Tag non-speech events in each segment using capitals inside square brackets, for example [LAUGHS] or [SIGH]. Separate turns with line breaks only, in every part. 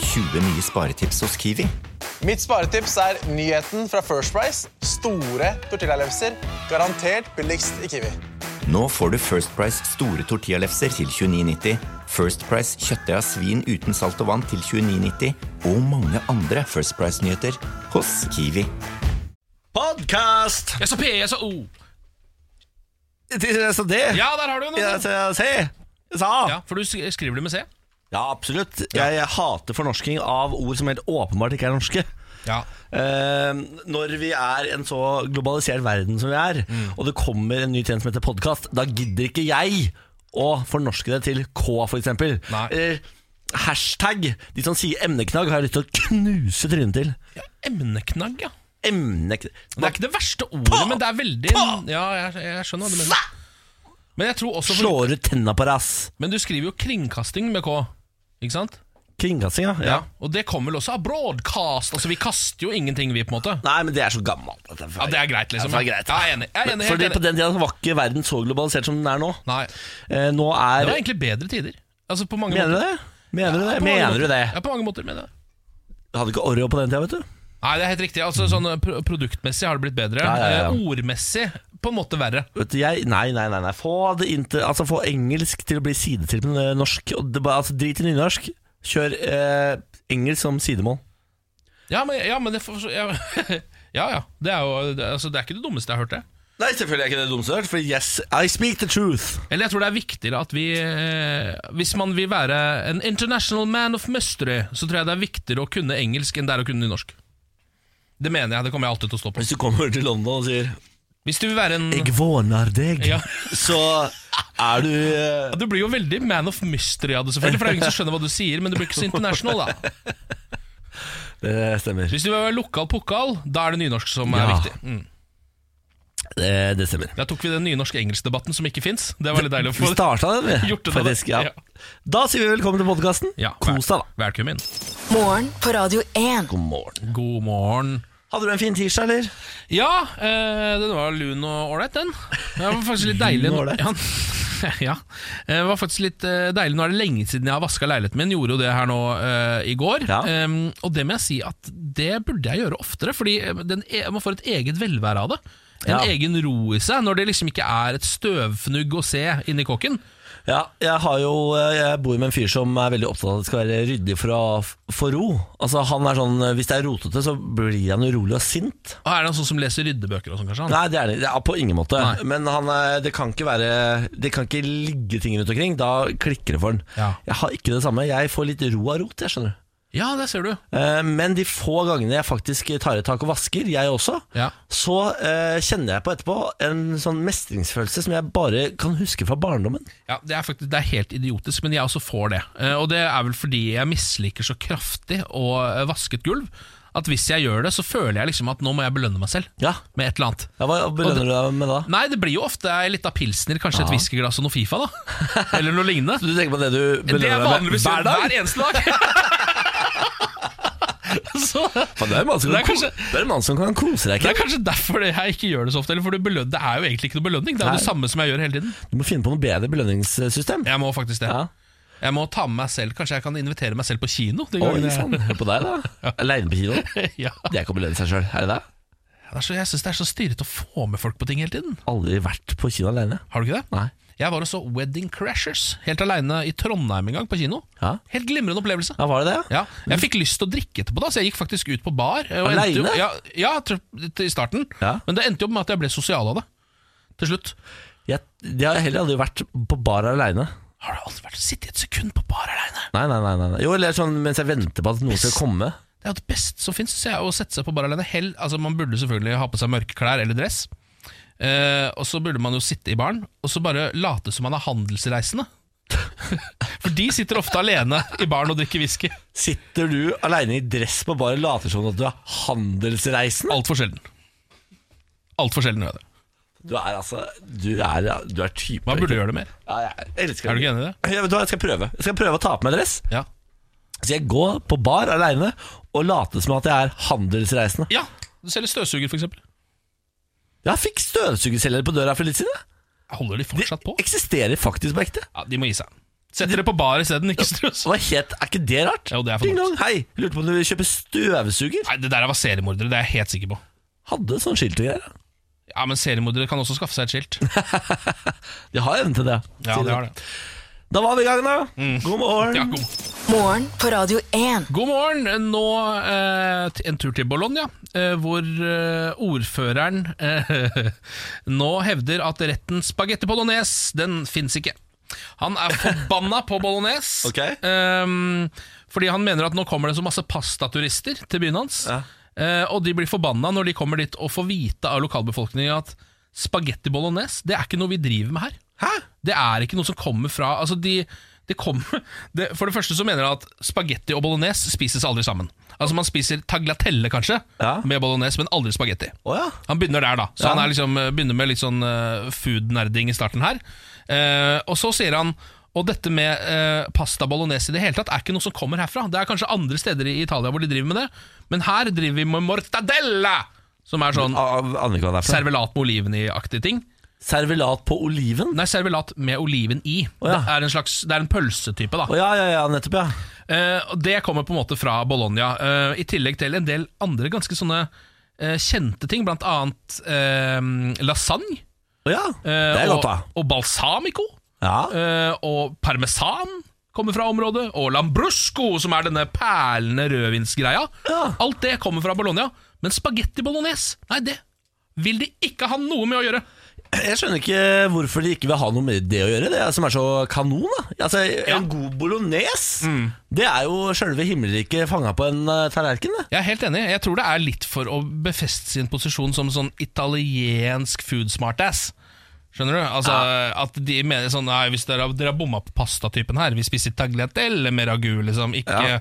20 nye sparetips hos Kiwi.
Mitt sparetips er nyheten fra First Price. Store tortillalefser. Garantert billigst i Kiwi.
Nå får du First Price store tortillalefser til 29,90, First Price kjøttdeig av svin uten salt og vann til 29,90 og mange andre First Price-nyheter hos Kiwi.
Podkast!
Jeg så P, jeg så O.
Så det
Ja, der har du den!
Ja,
altså.
så- Se! Sa!
Ja, for du sk- skriver det med C.
Ja, absolutt. Jeg, jeg hater fornorsking av ord som helt åpenbart ikke er norske.
Ja.
Eh, når vi er en så globalisert verden som vi er,
Mm.
og det kommer en ny tjeneste som heter podkast, da gidder ikke jeg å fornorske det til K, f.eks.
Nei.
Eller hashtag. De som sier emneknagg, har jeg lyst til å knuse trynet til.
ja emneknagg, ja.
Emneknagg
Det er ikke det verste ordet, men det er veldig Ja, jeg, jeg skjønner hva du mener. Men jeg tror også for,
Slår ut tenna på rass.
Men du skriver jo kringkasting med K, ikke sant?
Kringkasting, ja. ja.
Og det kommer vel også av broadcast. Altså, vi kaster jo ingenting, vi, på en måte.
Nei, men det er så gammelt. at
Ja, det er greit, liksom.
Ja, det er greit.
Ja, jeg er enig. Jeg er enig, helt
Fordi
enig.
På den tida var ikke verden så globalisert som den er nå.
Nei.
Eh, nå er
Det var egentlig bedre tider. Altså, på mange
Mener du
måter.
det? Mener du det?
Ja, på mange
Mener du
måter.
det?
Ja, på mange måter, mener jeg.
Hadde ikke Oreo på den tida, vet du.
Nei, det er helt riktig. Altså, sånn eh, pro- Produktmessig har det blitt bedre.
Ja, ja, ja.
Eh, Ordmessig på en måte verre.
Vet du, jeg, nei, nei, nei, nei. Få, det inter, altså, få engelsk til å bli sidetil med eh, norsk. Og det, bare- altså, drit i nynorsk. Kjør eh, engelsk som sidemål.
Ja, men, ja, men det får- ja, [LAUGHS] ja, ja. Det er jo det, altså, det er ikke det dummeste jeg har hørt, det.
Nei, selvfølgelig er ikke det dumt hørt, for yes, I speak the truth.
Eller jeg tror det er viktigere at vi eh, Hvis man vil være en international man of mystery, så tror jeg det er viktigere å kunne engelsk enn det er å kunne nynorsk. Det mener jeg. Det kommer jeg alltid til å stå på.
Hvis du kommer til London og sier
Hvis du vil være en
Jeg våner deg,
ja,
[LAUGHS] så er du eh,
Du blir jo veldig man of mystery av det, selvfølgelig, for det er jo ingen som skjønner hva du sier, men du blir ikke så international, da.
Det stemmer.
Hvis du vil være lokal pokal, da er det nynorsk som er
Ja.
viktig. Mm.
Det, Eh, det stemmer.
Der tok vi den nynorsk-engelsk-debatten som ikke fins. Det var litt deilig å
Vi
få.
starta den, vi.
[LAUGHS] Gjort det,
faktisk,
da.
ja. Da sier vi velkommen til podkasten.
Ja,
Kos deg, da.
Velkommen.
Morgen på Radio 1.
God morgen.
God morgen.
Hadde du en fin tirsdag, eller?
Ja, eh, den var lun og ålreit, den. Det var faktisk litt deilig.
Lun og
nå- Ja, [LAUGHS] ja. Eh, Det var faktisk litt eh, deilig. Nå er det lenge siden jeg har vaska leiligheten min. Gjorde jo det her nå eh, i går.
Ja.
Em, og det må jeg si at det burde jeg gjøre oftere, fordi eh, den e man får et eget velvære av det. En
Ja.
egen ro i seg, når det liksom ikke er et støvfnugg å se inni kåken.
Ja, jeg, har jo, eh, jeg bor jo med en fyr som er veldig opptatt av at det skal være ryddig for å f- få ro. Altså, han er sånn, Hvis det er rotete, så blir han urolig og sint.
Og er det han sånn som leser ryddebøker og sånn, kanskje? Han?
Nei, det er det det er på ingen måte.
Nei.
Men han, er- det, kan ikke være, det kan ikke ligge ting rundt omkring. Da klikker det for han.
Ja.
Jeg har ikke det samme. Jeg får litt ro av rot, jeg skjønner du.
Ja, det ser du.
Eh, Men de få gangene jeg faktisk tar et tak og vasker, jeg også,
Ja.
så eh, kjenner jeg på etterpå en sånn mestringsfølelse som jeg bare kan huske fra barndommen.
Ja, det er, faktisk, det er helt idiotisk, men jeg også får det. Eh, Og det er vel fordi jeg misliker så kraftig å eh, vaske et gulv, at hvis jeg gjør det, så føler jeg liksom at nå må jeg belønne meg selv
Ja,
med et eller annet.
ja Hva belønner du deg med da?
Nei, det blir jo ofte ei lita pilsner, kanskje et whiskyglass og noe Fifa, da.
[LAUGHS]
Eller noe lignende.
Du tenker på det du
Det er
belønner deg med
vanligvis
hver dag?
hver eneste
[LAUGHS]
dag. så
Faen, det er en mann som
Det er
kan ko-
kanskje-
det er en mann som kan kose deg.
det er
Ikke?
kanskje derfor det- jeg ikke gjør det så ofte. Eller for det, beløn, det er jo egentlig ikke noe belønning. Det er jo det samme som jeg gjør hele tiden.
Du må finne på noe bedre belønningssystem.
Jeg må faktisk det.
Ja.
Jeg må ta med meg selv Kanskje jeg kan invitere meg selv på kino. de
Oi
gangene jeg-
sann, hør på deg, da. Aleine på kino.
[LAUGHS]
[LAUGHS]
ja.
Det er ikke å belønne seg sjøl, er det det?
Det er så, jeg syns det er så styrete å få med folk på ting hele tiden.
Aldri vært på kino aleine.
Har du ikke det?
Nei.
Jeg var og så Wedding Crashers helt aleine i Trondheim en gang, på kino.
Ja.
Helt glimrende opplevelse.
Ja, var det det?
Ja, jeg fikk lyst til å drikke etterpå, da så jeg gikk faktisk ut på bar. eh, og endte jo-
Alene?
Ja, ja, tr- til- i starten.
Ja.
Men det endte jo opp med at jeg ble sosial av det. Til slutt.
Jeg, jeg har heller aldri vært på bar aleine.
Har du aldri vært sittet et sekund på bar aleine?
Nei, nei, nei, nei. nei. Jo, eller sånn mens jeg venter på at noen skal komme.
Det er jo det beste som fins, syns jeg, å sette seg på bar alene. Hell, altså, man burde selvfølgelig ha på seg mørke klær eller dress. Eh, og så burde man jo sitte i baren og så bare late som man er handelsreisende. [LAUGHS] For de sitter ofte alene i baren og drikker whisky.
Sitter du aleine i dress på bar og later som at du er handelsreisende?
Altfor sjelden. Altfor sjelden gjør jeg det.
Du er altså Du er, du er type
Man burde gjøre det mer.
ja, Jeg elsker
Er du ikke enig i det?
Ja, vet du hva, jeg skal prøve Jeg skal prøve å ta på meg dress.
Ja.
Så jeg går på bar aleine og later som at jeg er handelsreisende.
ja. Du selger støvsuger, f.eks.
Jeg fikk støvsugerselgere på døra for litt siden. jeg.
Holder
De
de fortsatt på?
eksisterer faktisk på ekte.
Ja, De må gi seg. Setter det på bar isteden, ikke strøs.
Og hva het, Er ikke det rart?
Jo, det er for
Ding dong, hei, Lurte på om du ville kjøpe støvsuger?
Nei, Det der var seriemordere, det er jeg helt sikker på.
Hadde sånn skilt og greier.
Ja, Men seriemordere kan også skaffe seg et skilt.
De har evne til det.
Ja,
sier
det
de.
har det.
Da var vi i gang, da. God morgen.
Mm. Ja, god.
Morgen på Radio 1.
God morgen. Nå eh, t- en tur til Bologna, eh, hvor eh, ordføreren eh, [LAUGHS] nå hevder at retten spagetti bolognese, den fins ikke. Han er forbanna på bolognese,
Ok.
ehm, fordi han mener at nå kommer det så masse pastaturister til byen hans.
Ja.
eh, og de blir forbanna når de kommer dit og får vite av lokalbefolkningen at spagetti bolognese det er ikke noe vi driver med her.
Hæ?
Det er ikke noe som kommer fra Altså de, det kommer, det, For det første så mener jeg at spagetti og bolognese spises aldri sammen. Altså Man spiser tagliatelle kanskje
Ja.
med bolognese, men aldri spagetti.
Å ja.
Han begynner der, da. Så
Ja.
han er liksom, eh, begynner med litt sånn eh, food-nerding i starten her. Eh, og så sier han og dette med eh, pasta bolognese i det hele tatt er ikke noe som kommer herfra. Det er kanskje andre steder i Italia hvor de driver med det, men her driver vi med mortadella! Som er sånn
Av- Aner ikke hva Ah, det er for noe.
servelat med oliven i-aktig ting.
Servelat på oliven?
Nei, servelat med oliven i.
Å, ja.
Det er en slags, det er en pølsetype, da.
Å ja, ja, ja, nettopp, ja.
Eh, og det kommer på en måte fra Bologna, eh, i tillegg til en del andre ganske sånne eh, kjente ting, blant annet eh, lasagne.
Å ja.
eh,
Det er godt, da.
og, og balsamico.
Ja.
eh, og parmesan kommer fra området. Og lambrusco, som er denne perlende rødvinsgreia.
Ja.
Alt det kommer fra Bologna. Men spagetti bolognese, nei, det vil de ikke ha noe med å gjøre.
Jeg skjønner ikke hvorfor de ikke vil ha noe med det å gjøre, det som er så kanon. da Altså,
Ja. Mm.
En god bolognese, det er jo sjølve himmelriket fanga på en eh, tallerken. Det.
Jeg er helt enig. Jeg tror det er litt for å befeste sin posisjon som sånn italiensk food smartass. Skjønner du? Altså, At de mener sånn Nei, hvis dere, har- dere har bomma på pastatypen her. Vi spiser tagliatelle med ragu, liksom. Ikke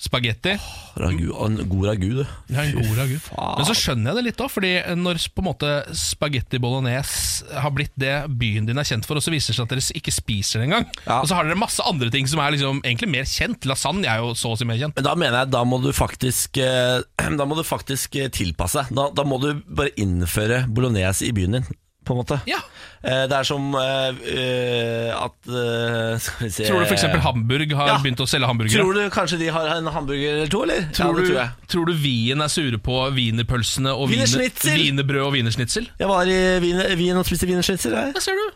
spagetti.
Ragu, en god ragu, du.
Ja, en god ragu. Men så skjønner jeg det litt òg, fordi når på en måte spagetti bolognese har blitt det byen din er kjent for, og så viser det seg at dere ikke spiser det engang,
Ja.
og så har dere masse andre ting som er liksom egentlig mer kjent. Lasagne er jo så å si mer kjent.
Men da mener jeg da må du faktisk eh, [CLEARS THROAT] Da må du faktisk eh, tilpasse deg. Da, da må du bare innføre bolognese i byen din, på en måte.
Ja.
Eh, Det er som eh, eh, at eh, [LAUGHS] Skal vi se
Tror du f.eks. Hamburg har
Ja.
begynt å selge hamburgere?
Tror du kanskje de har en hamburger eller to, eller? ja,
Tror,
det
du,
tror jeg.
tror du Wien er sure på wienerpølsene og wiener-
Wienerschnitzel!
wienerbrød og wienersnitzel?
Jeg var i Wien, Wien og spiste wienerschnitzel, jeg.
Der ser du.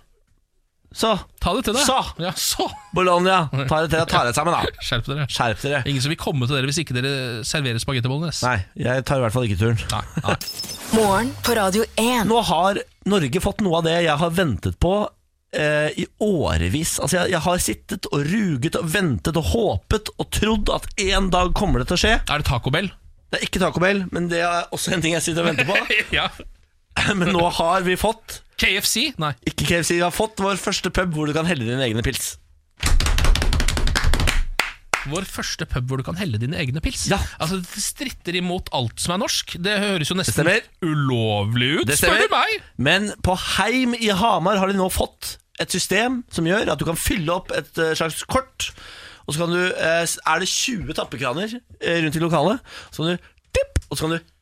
Så
Ta det til deg.
Så!
Ja, så.
Bologna, ta dere til å ta dere sammen, da.
Skjerp dere.
Skjerp dere.
Ingen som vil komme til dere hvis ikke dere serverer spagetti bolognese.
Nei, jeg tar i hvert fall ikke turen.
Nei, nei.
Morgen på Radio 1.
Nå har Norge fått noe av det jeg har ventet på eh, i årevis. Altså, jeg, jeg har sittet og ruget og ventet og håpet og trodd at en dag kommer det til å skje.
Er det Taco Bell?
Det er ikke Taco Bell, men det er også en ting jeg sitter og venter
[LAUGHS]
på.
ja.
Men nå har vi fått
KFC? Nei.
Ikke KFC, vi har fått vår første pub hvor du kan helle dine egne pils.
Vår første pub hvor du kan helle dine egne pils.
Ja.
Altså, Det stritter imot alt som er norsk. Det høres jo nesten
stemmer.
ulovlig ut,
Det
spør
stemmer.
du meg.
Men på Heim i Hamar har de nå fått et system som gjør at du kan fylle opp et eh, slags kort. Og så kan du, eh, s- er det 20 tappekraner eh, rundt i lokalet, så kan du tipp, og så kan du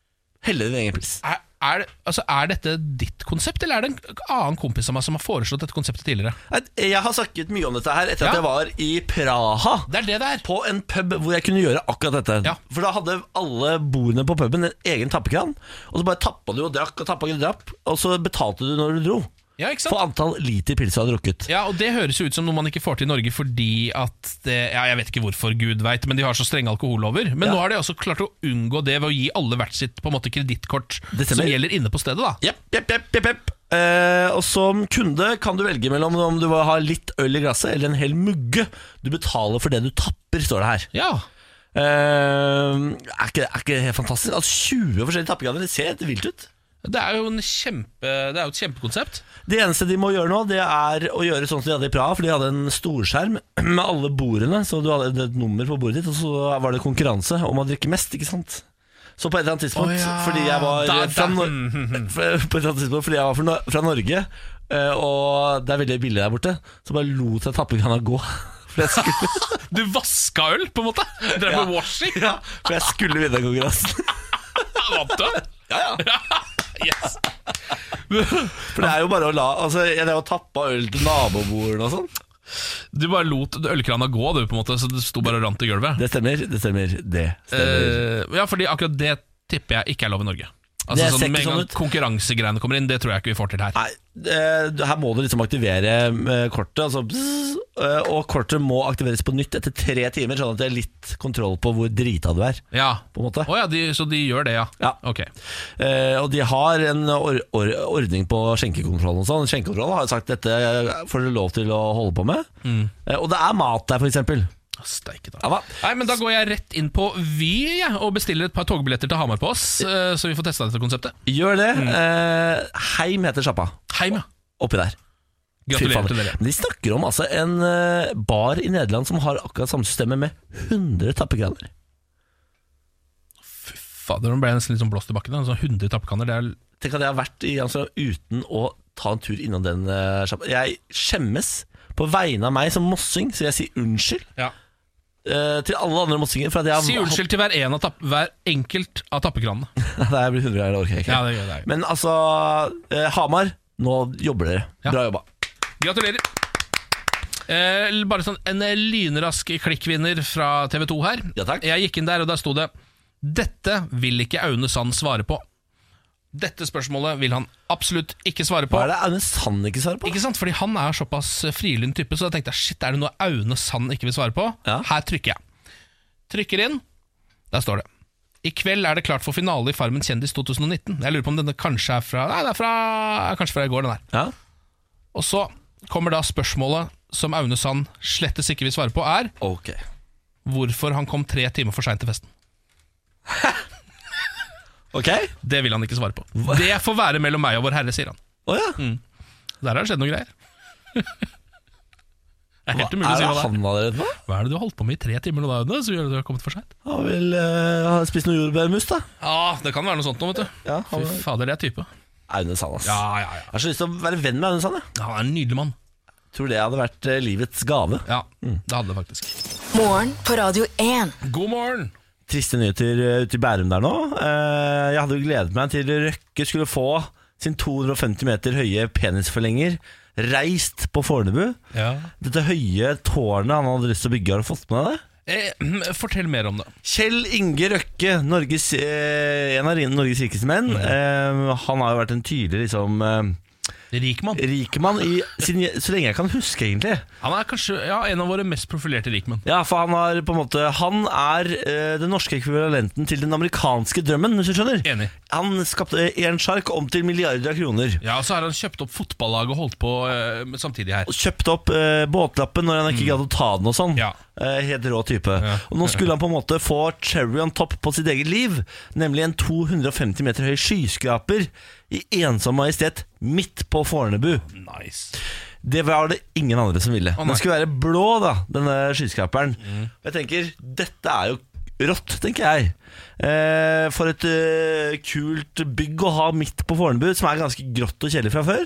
helle din egen pils.
Er, er, det- altså, er dette ditt konsept, eller er det en annen kompis av meg som har foreslått dette konseptet tidligere?
Nei, Jeg har snakket mye om dette her etter
Ja.
at jeg var i Praha.
Det er det det er.
På en pub hvor jeg kunne gjøre akkurat dette.
Ja.
For da hadde alle bordene på puben en egen tappekran. Og så bare tappa du og drakk og tappa og drakk, og så betalte du når du dro.
Ja, ikke sant?
For antall liter pils du hadde drukket.
Ja, og Det høres jo ut som noe man ikke får til i Norge fordi at det, ja, Jeg vet ikke hvorfor, gud veit, men de har så strenge alkohollover. Men nå har de også klart å unngå det ved å gi alle hvert sitt på en måte kredittkort
Det
som
stemmer.
gjelder inne på stedet. da
Jepp, jepp, jepp, jepp, jepp. Eh, og som kunde kan du velge mellom om du vil ha litt øl i glasset eller en hel mugge. Du betaler for det du tapper, står det her.
Ja,
Eh, er, ikke, er ikke det helt fantastisk? Altså 20 forskjellige tappegrader, det ser helt vilt ut.
Det er jo en kjempe, det er jo et kjempekonsept.
Det eneste de må gjøre nå, det er å gjøre sånn som de hadde i Praha, for de hadde en storskjerm [CLEARS THROAT] med alle bordene, så du hadde et nummer på bordet ditt, og så var det konkurranse om å drikke mest, ikke sant? Så på et eller annet tidspunkt,
Å ja,
fordi jeg var
da- da-
fra, Nor-
[LAUGHS]
[LAUGHS] på et eller annet tidspunkt, fordi jeg var fra, Nor- fra Norge, eh, og det er veldig billig der borte, så bare lot jeg tappegrana gå. [LAUGHS] For jeg skulle,
[LAUGHS] Du vaska øl, på en måte! Drev med
Ja.
washing.
ja, [LAUGHS] for jeg skulle vinne konkurransen.
Vant du?
[LAUGHS] Ja, ja.
Yes.
For det er jo bare å la Altså, jeg drev og tappa øl til nabobordene og sånn.
Du bare lot ølkrana gå, du, på en måte, så det sto bare og rant i gulvet.
Det stemmer, det stemmer. Det stemmer.
Eh, ja, fordi akkurat det tipper jeg ikke er lov i Norge. Altså,
Det ser
sånn,
ikke
med en
sånn
gang
ut.
konkurransegreiene kommer inn, det tror jeg ikke vi får til her.
Nei, eh, her må du liksom aktivere eh, kortet, altså, bzz, eh, og kortet må aktiveres på nytt etter tre timer, sånn at det er litt kontroll på hvor drita du er.
Ja.
På en måte.
Å ja, de, så de gjør det, ja.
Ja.
Ok.
Eh, og de har en or or ordning på skjenkekontrollen og sånn. Skjenkekontrollen har jo sagt dette eh, får dere lov til å holde på med.
Mm.
Eh, og det er mat der, for eksempel.
Steike da.
Ja, hva?
Nei, men Da går jeg rett inn på Vy jeg, og bestiller et par togbilletter til Hamar på oss, eh, så vi får testa dette konseptet.
Gjør det.
Mm.
Eh, heim heter sjappa
Heim, ja.
oppi der. Fy
Gratulerer
faen.
til dere.
Men de snakker om altså, en eh, bar i Nederland som har akkurat samme systemet med 100 tappekraner.
Fader, nå ble jeg nesten litt sånn blåst i bakken. da. Sånn 100 tappekanner, det er
Tenk at jeg har vært i Amsterdam uten å ta en tur innom den eh, sjappa. Jeg skjemmes på vegne av meg som mossing, så jeg sier unnskyld eh, til alle andre mossinger. For at jeg har
Si unnskyld til hver, en av tapp, hver enkelt av tappekranene.
[LAUGHS] Nei, jeg blir 100 ganger, det orker jeg ikke.
Ja, det gjør det.
Men altså, eh, Hamar, nå jobber dere.
Ja.
Bra jobba.
Gratulerer. Eh, l- bare sånn en eh, lynrask klikkvinner fra TV 2 her.
Ja, takk.
Jeg gikk inn der, og der sto det Dette vil ikke Aune Sand svare på. Dette spørsmålet vil han absolutt ikke svare på.
Hva er det Aune Sand ikke svarer på?
Ikke sant? Fordi han er såpass eh, frilynt type, så da tenkte jeg shit, er det noe Aune Sand ikke vil svare på?
Ja.
Her trykker jeg. Trykker inn. Der står det. I kveld er det klart for finale i Farmen kjendis 2019. Jeg lurer på om denne kanskje er fra Nei, det er fra, er kanskje fra i går, den her.
Ja.
Og så kommer da spørsmålet som Aune Sand slettes ikke vil svare på, er
Ok.
hvorfor han kom tre timer for seint til festen.
Ok? Å
Det vil han ikke svare på. Det får være mellom meg og vår herre, sier han.
ja.
Mm, Der har det skjedd noen greier. Det er
Hva
helt
er
umulig å si
det
hva det er.
han har drevet med?
Hva er det du har holdt på med i tre timer nå, da, Aune? Så gjør det du har kommet for seint?
Han vil eh, ha spist noe jordbærmus, da.
Ja, det kan være noe sånt nå, vet du.
Ja, han-
Fy fader, det er type.
Aune Sand, ass.
ja, ja.
Jeg har så lyst til å være venn med Aune Sand. Jeg.
Han er en nydelig mann.
Tror det hadde vært eh, livets gave.
Ja,
Mm.
det hadde det faktisk.
Morgen på Radio 1.
God morgen!
Triste nyheter eh, ute i Bærum der nå. Eh, jeg hadde jo gledet meg til Røkke skulle få sin 250 meter høye penisforlenger reist på Fornebu. Dette høye tårnet han hadde lyst til å bygge, har du fått med deg det?
Eh, [CLEARS THROAT] fortell mer om det.
Kjell Inge Røkke, Norges, eh, en av Norges rikeste menn. Eh, han har jo vært en tydelig liksom, eh,
Rik mann.
rik mann i, siden, jeg- så lenge jeg kan huske, egentlig.
Han er kanskje ja, en av våre mest profilerte rikmenn.
Ja, for han, har, på en måte, han er eh, den norske ekvivalenten til den amerikanske drømmen, hvis du skjønner.
Enig.
Han skapte én sjark om til milliarder av kroner.
Ja, og Så har han kjøpt opp fotballaget og holdt på eh, med- samtidig her.
Og Kjøpte opp eh, båtlappen når han ikke gadd å ta den og sånn.
Mm. Ja.
Eh, helt rå type. Og nå skulle han på en måte få cherry on top på sitt eget liv. Nemlig en 250 meter høy skyskraper i ensom majestet midt på Fornebu.
Nice.
Det var det ingen andre som ville.
nei. Mm.
den skulle være blå, da, denne skyskraperen. Og Jeg tenker, dette er jo rått, tenker jeg. Eh, for et eh, kult bygg å ha midt på Fornebu, som er ganske grått og kjedelig fra før.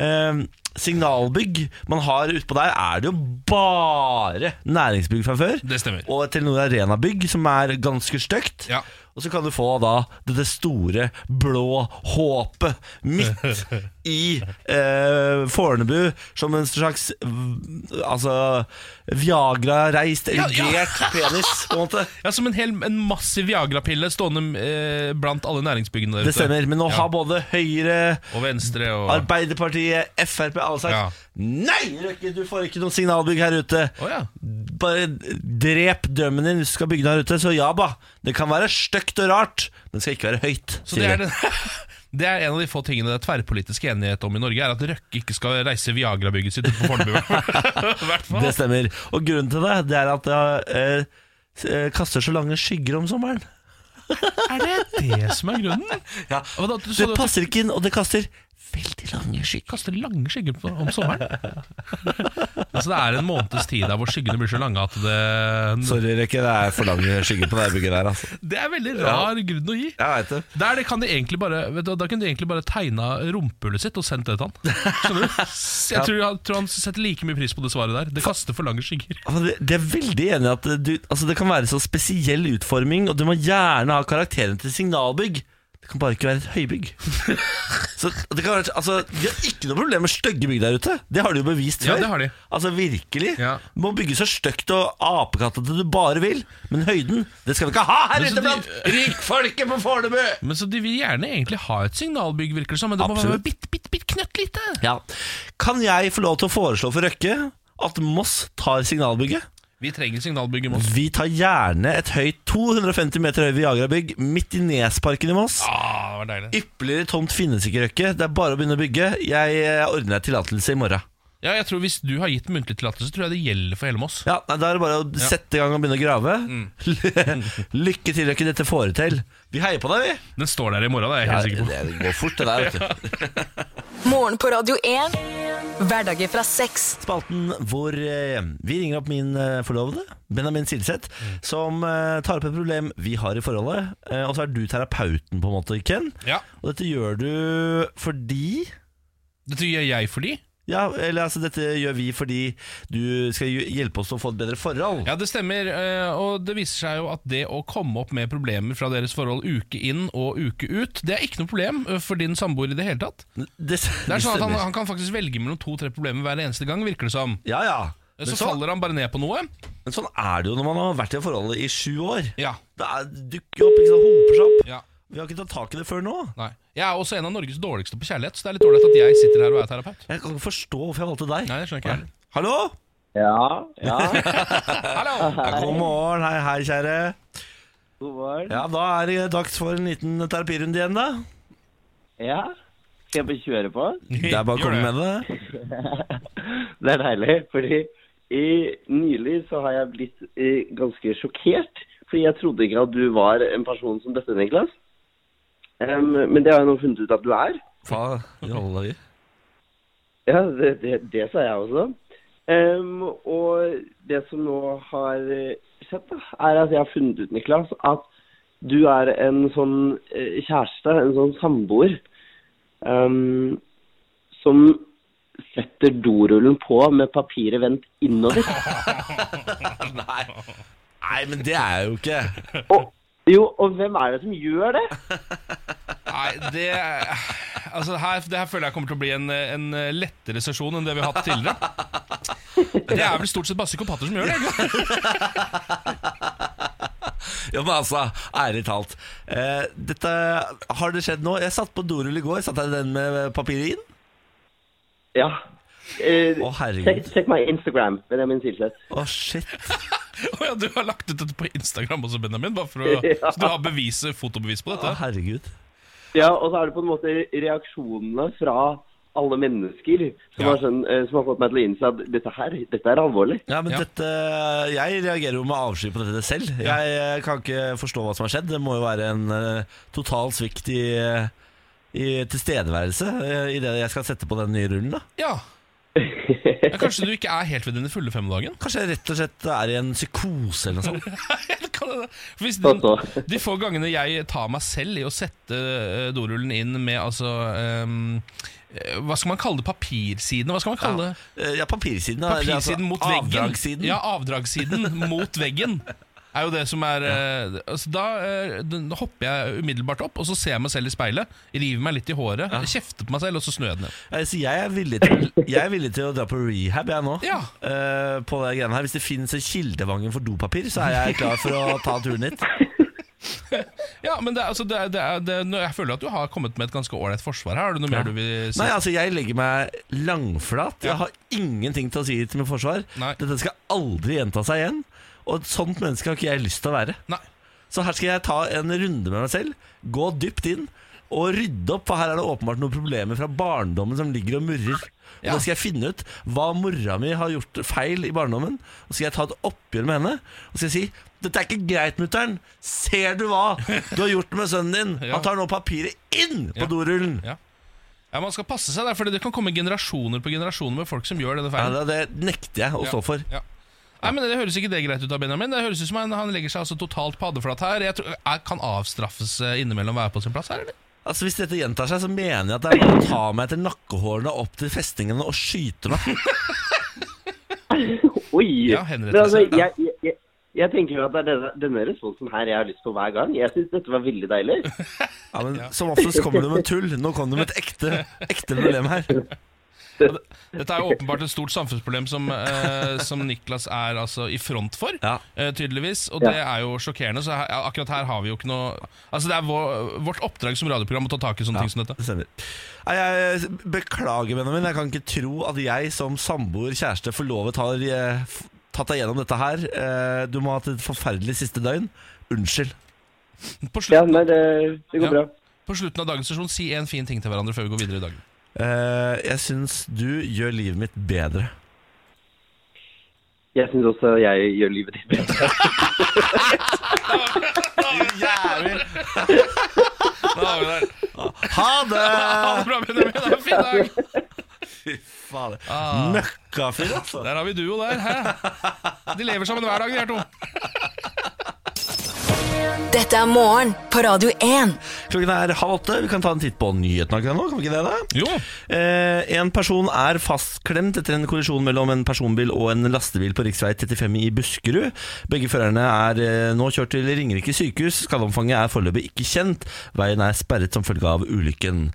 Eh, signalbygg man har utpå der, er det jo bare næringsbygg fra før.
Det stemmer.
Og et Telenor Arena-bygg, som er ganske stygt.
Ja.
Og så kan du få da dette store, blå håpet midt i eh, Fornebu, som en slags v- altså, Viagra-reist, erigert penis, på en måte.
Ja, Som en, hel, en massiv Viagra-pille stående eh, blant alle næringsbyggene der
Det stemmer. Men nå
Ja.
har både Høyre,
Og venstre og
Arbeiderpartiet, Frp alle sagt
Ja.
Nei, Røkke, du får ikke noe signalbygg her ute.
Å ja.
Bare drep drømmen din hvis du skal bygge den her ute. Så ja, ba. Det kan være stygt og rart, men det skal ikke være høyt.
Så det [LAUGHS] er, den, det er en av de få tingene det er tverrpolitisk enighet om i Norge, er at Røkke ikke skal reise Viagra-bygget sitt ut på Fornebu. [LAUGHS] I hvert fall.
Det stemmer. Og grunnen til det, det er at det eh, s- eh, kaster så lange skygger om sommeren.
Er det det som er grunnen?
Ja.
Og da, så
Det
du
passer ikke inn, og det kaster veldig lange skygger.
kaster lange skygger på, om sommeren? altså Det er en måneds tid der hvor skyggene blir så lange at det
Sorry, Rekke, det er for lange skygger på det bygget der, altså.
Det er veldig rar grunn å gi.
Jeg veit det.
Der det kan de egentlig bare vet du, hva, Da kunne de egentlig bare tegna rumpehullet sitt og sendt det til han.
[LAUGHS]
Skjønner du? Jeg tror, jeg tror han setter like mye pris på det svaret der. Det kaster for lange skygger.
Altså, det- det er veldig enig i at du, altså, det kan være så spesiell utforming, og du må gjerne ha karakteren til signalbygg. Det kan bare ikke være et
[LAUGHS]
høybygg. Så det kan være, altså, De har ikke noe problem med stygge bygg der ute. Det har de jo bevist
Ja,
før.
det har de.
Altså Virkelig.
Ja.
Du må bygge så stygt og apekattete du bare vil, men høyden det skal vi ikke ha her
Men så
ute
de-
blant rikfolket på Fornebu!
Men så De vil gjerne egentlig ha et signalbygg, virker det som, men det må
Absolutt.
være bitte, bitte, bitte knøttlite.
Ja. Kan jeg få lov til å foreslå for Røkke at Moss tar signalbygget?
Vi trenger signalbygg i Moss.
Vi tar gjerne et høyt 250 meter høy Viagra-bygg midt i Nesparken i Moss.
Ah, det var deilig.
Ypperligere tomt finnes ikke, Røkke. Det er bare å begynne å bygge. Jeg eh, ordner deg tillatelse i morgen.
Ja, jeg tror Hvis du har gitt muntlig tillatelse, tror jeg det gjelder for hele Moss.
Ja, nei, Da er det bare å sette i gang og begynne å grave. [LAUGHS] Lykke til, Røkke. Dette får du til. Vi heier på deg, vi.
Den står der i morgen, det er jeg
Ja,
helt sikker på.
det går fort, det der. vet [LAUGHS] du
Morgen på Radio 1. Hverdager fra seks.
Spalten hvor eh, vi ringer opp min eh, forlovede, Benjamin Silseth, som eh, tar opp et problem vi har i forholdet. Eh, og så er du terapeuten, på en måte, Ken.
Ja,
Og dette gjør du fordi
Dette gjør jeg for de.
Ja, eller altså dette gjør vi fordi du skal hj- hjelpe oss å få et bedre forhold.
Ja, det stemmer. eh, Og det viser seg jo at det å komme opp med problemer fra deres forhold uke inn og uke ut, det er ikke noe problem eh, for din samboer i det hele tatt.
Det, det
Det er sånn at han,
stemmer.
han kan faktisk velge mellom to-tre problemer hver eneste gang, virker det som. Eh,
Ja, ja. Men,
Så
så,
faller han bare ned på noe.
men sånn er det jo når man har vært i forhold i sju år.
Ja,
Det er, dukker jo opp, ikke sant, hoper seg opp.
ja,
Vi har ikke tatt tak i det før nå.
nei Jeg er også en av Norges dårligste på kjærlighet, så det er litt dårlig at jeg sitter her og er terapeut.
Jeg kan ikke forstå hvorfor jeg valgte deg.
Nei, det skjønner ikke jeg.
Hallo?
Ja, ja.
Hallo!
Ja, god
[LAUGHS]
morgen. Hei, hei, kjære.
God morgen. Ja.
Ja, da er det dags for en liten terapirunde igjen, da.
Skal jeg bare kjøre på?
Det er bare å komme med det.
Det er deilig, fordi i, nylig så har jeg blitt eh, ganske sjokkert. Fordi jeg trodde ikke at du var en person som dette, Niklas. Em, men det har jeg nå funnet ut at du er.
Faen, rolle vi.
Ja, det, det, det sa jeg også. Em, og det som nå har eh, skjedd, da, er at jeg har funnet ut, Niklas, at du er en sånn eh, kjæreste, en sånn samboer, em, som setter dorullen på med papiret vendt
[LAUGHS]
innover.
Nei. Nei, men det er jeg jo ikke.
Og, jo, og hvem er det som gjør det?
Nei, det Altså, her, det her føler jeg kommer til å bli en, en lettere sesjon enn det vi har hatt tidligere. Det er vel stort sett bare psykopater som gjør det. ikke?
Ja, men altså, ærlig talt. Eh, dette, har det skjedd nå? Jeg satt på dorull i går. Satt jeg den med papiret inn?
Ja. Eh,
Å, herregud.
sjekk, sjekk meg Instagram, Benjamin Silseth.
Å, shit.
Å ja, du har lagt ut dette på Instagram også, Benjamin. Bare for å, så du har beviset, fotobevis på
Å,
dette.
herregud.
Ja, og så er det på en måte reaksjonene fra alle mennesker som,
Ja.
har, skjønt, eh, som har fått meg til å innse at dette her, dette er alvorlig.
Ja, men
Ja.
dette Jeg reagerer jo med avsky på dette selv.
Ja.
Jeg eh, kan ikke forstå hva som har skjedd. Det må jo være en eh, total svikt i, eh, i tilstedeværelse eh, i det jeg skal sette på den nye rullen, da.
Ja. ja Kanskje du ikke er helt ved dine fulle fem om dagen? [LAUGHS]
Kanskje jeg rett og slett er i en psykose eller noe sånt.
Det kan hende. For Hvis
Sånn
den,
så.
de få gangene jeg tar meg selv i å sette eh, dorullen inn med altså ehm, eh, Hva skal man kalle det? Papirsidene? Hva skal man kalle det?
Eh, Ja, papirsiden. da, eller altså
Papirsiden mot veggen.
Avdragssiden.
Ja, avdragssiden mot veggen. Er jo det som er eh, altså Da eh, den- da hopper jeg umiddelbart opp, og så ser jeg meg selv i speilet. River meg litt i håret, kjefter på meg selv, og så snur jeg den ned.
Eh, Så jeg er, villig til, jeg er villig til å dra på rehab, jeg nå.
Ja.
Eh, på det greiene her Hvis det finnes en kildevangen for dopapir, så er jeg klar for å ta turen hit.
Ja, men det, er- altså, det, er- det, er- det, er- jeg føler at du har kommet med et ganske ålreit forsvar her. Har du noe mer du vil si?
Nei, altså Jeg legger meg langflat. Jeg har ingenting til å si til mitt forsvar.
Nei.
Dette skal aldri gjenta seg igjen. Og et sånt menneske har ikke jeg lyst til å være.
Nei.
Så her skal jeg ta en runde med meg selv, gå dypt inn og rydde opp. For her er det åpenbart noen problemer fra barndommen som ligger og murrer. Og
Ja.
Da skal jeg finne ut hva mora mi har gjort feil i barndommen. Og så skal jeg ta et oppgjør med henne og så skal jeg si dette er ikke greit, mutter'n. Ser du hva du har gjort med sønnen din?
[LAUGHS] Ja.
Han tar nå papiret inn på
Ja.
dorullen.
Ja, Man skal passe seg, der, for det kan komme generasjoner på generasjoner med folk som gjør denne
Ja,
feilen.
det, det nekter jeg å stå for.
Ja. Nei, men Det høres ikke det greit ut av Benjamin. Det høres ut som han, han legger seg altså totalt paddeflat her. Jeg tror, er, kan avstraffes eh, innimellom være på sin plass her, eller?
Altså Hvis dette gjentar seg, så mener jeg at det er bare å ta meg etter nakkehårene opp til festningene og skyte meg.
Oi!
Ja, henrettelse,
Men altså,
ja.
jeg, jeg, Jeg tenker jo at det er denne, denne responsen her jeg har lyst på hver gang. Jeg syns dette var veldig deilig.
[LAUGHS]
[LAUGHS] Ja, men Som oftest kommer du med tull. Nå kom du med et ekte, ekte problem her.
Dette er jo åpenbart et stort samfunnsproblem som, eh, som Niklas er altså i front for,
Ja.
eh, tydeligvis. Og
Ja.
det er jo sjokkerende. Så her, akkurat her har vi jo ikke noe Altså Det er vår, vårt oppdrag som radioprogram å ta tak i sånne ting som dette.
Det stemmer. Nei, jeg beklager, Benjamin. Jeg kan ikke tro at jeg som samboer, kjæreste, forlovet har eh, f- tatt deg gjennom dette her. Eh, Du må ha hatt et forferdelig siste døgn. Unnskyld.
På,
Ja,
slutten,
nei, det, det
Ja.
går bra.
på slutten av dagens sesjon, si en fin ting til hverandre før vi går videre i dag.
Eh, Jeg syns du gjør livet mitt bedre.
Jeg syns også jeg gjør livet ditt bedre.
Jævlig.
Da har vi det.
Ha det!
[LAUGHS] Ha det bra, Benjamin. Ha en fin dag.
Fy fader. Møkkafyr, altså.
Der har vi duo der. Hæ? De lever sammen hver dag, de her to.
Dette er morgen på Radio 1.
Klokken er halv åtte. Vi kan ta en titt på nyhetene akkurat nå. Kan vi ikke det? da?
Jo.
Eh, en person er fastklemt etter en kollisjon mellom en personbil og en lastebil på rv. 35 i Buskerud. Begge førerne er eh, nå kjørt til Ringerike sykehus. Skadeomfanget er foreløpig ikke kjent. Veien er sperret som følge av ulykken.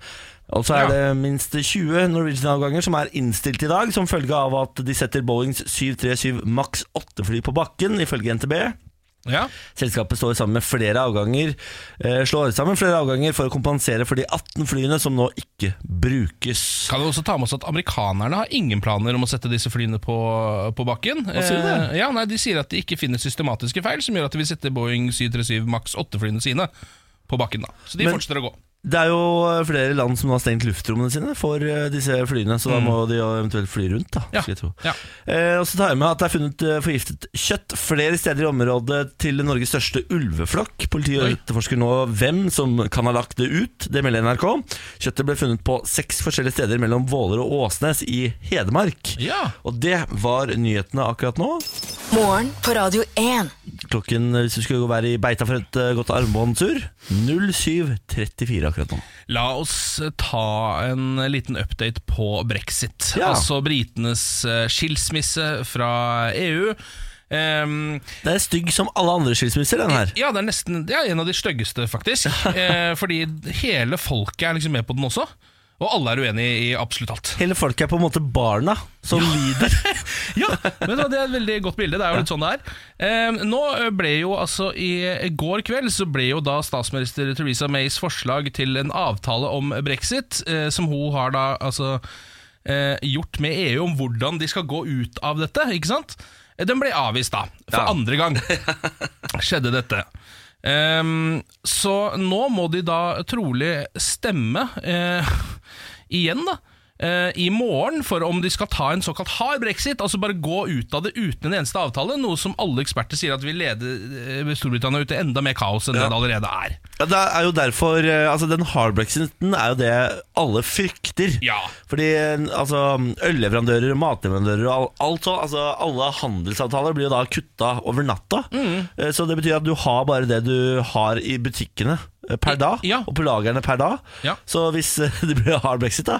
Og så er
Ja.
det minst 20 Norwegian-avganger som er innstilt i dag, som følge av at de setter Boeings 737 maks 8-fly på bakken, ifølge NTB.
Ja.
Selskapet står sammen med flere avganger eh, slår sammen flere avganger for å kompensere for de 18 flyene som nå ikke brukes.
Kan vi også ta med oss at Amerikanerne har ingen planer om å sette disse flyene på, på bakken.
sier du det?
Eh, ja, nei, De sier at de ikke finner systematiske feil som gjør at de vil sette Boeing 737 Max 8-flyene sine på bakken. da Så de
Men-
fortsetter å gå.
Det er jo eh, flere land som nå har stengt luftrommene sine for eh, disse flyene, så da må de jo eventuelt fly rundt, da.
Mm. Ja,
Skal jeg tro.
ja.
Eh, og så tar jeg med at det er funnet eh, forgiftet kjøtt flere steder i området til Norges største ulveflokk. Politiet
Oi.
etterforsker nå hvem som kan ha lagt det ut, det melder NRK. Kjøttet ble funnet på seks forskjellige steder mellom Våler og Åsnes i Hedmark.
Ja.
Og det var nyhetene akkurat nå.
Morgen på Radio 1.
Klokken, eh, hvis du skulle være i beita for et eh, godt armbåndsur, 07.34 akkurat nå.
La oss eh, ta en liten update på brexit.
Ja.
Altså britenes eh, skilsmisse fra EU. Ehm,
Det er stygg som alle andre skilsmisser, den her.
ja, det er nesten det er en av de styggeste, [LAUGHS] faktisk. eh, fordi hele folket er liksom med på den også. Og alle er uenig i absolutt alt.
Hele folket er på en måte barna som lider.
Ja, vet du hva, Det er et veldig godt bilde. Det er jo litt sånn det er. Eh, nå ble jo altså I går kveld så ble jo da statsminister Theresa Mays forslag til en avtale om brexit, eh, som hun har da altså eh, gjort med EU om hvordan de skal gå ut av dette, ikke sant? Eh, Den ble avvist da, for andre gang skjedde dette. Ehm, så nå må de da trolig stemme eh, [LAUGHS] igjen, da. eh, I morgen, for om de skal ta en såkalt hard brexit, altså bare gå ut av det uten en eneste avtale, noe som alle eksperter sier at vil lede eh, Storbritannia ut i enda mer kaos enn det det allerede er.
Ja, det er jo derfor, eh, altså Den hard brexiten er jo det alle frykter.
Ja.
Fordi eh, altså, ølleverandører, matleverandører og al- alt sånt, altså, alle handelsavtaler blir jo da kutta over natta.
Mm.
Eh, Så det betyr at du har bare det du har i butikkene eh, per dag,
Ja.
og på lagrene per dag.
Ja.
Så hvis eh, [LAUGHS] det blir hard brexit, da,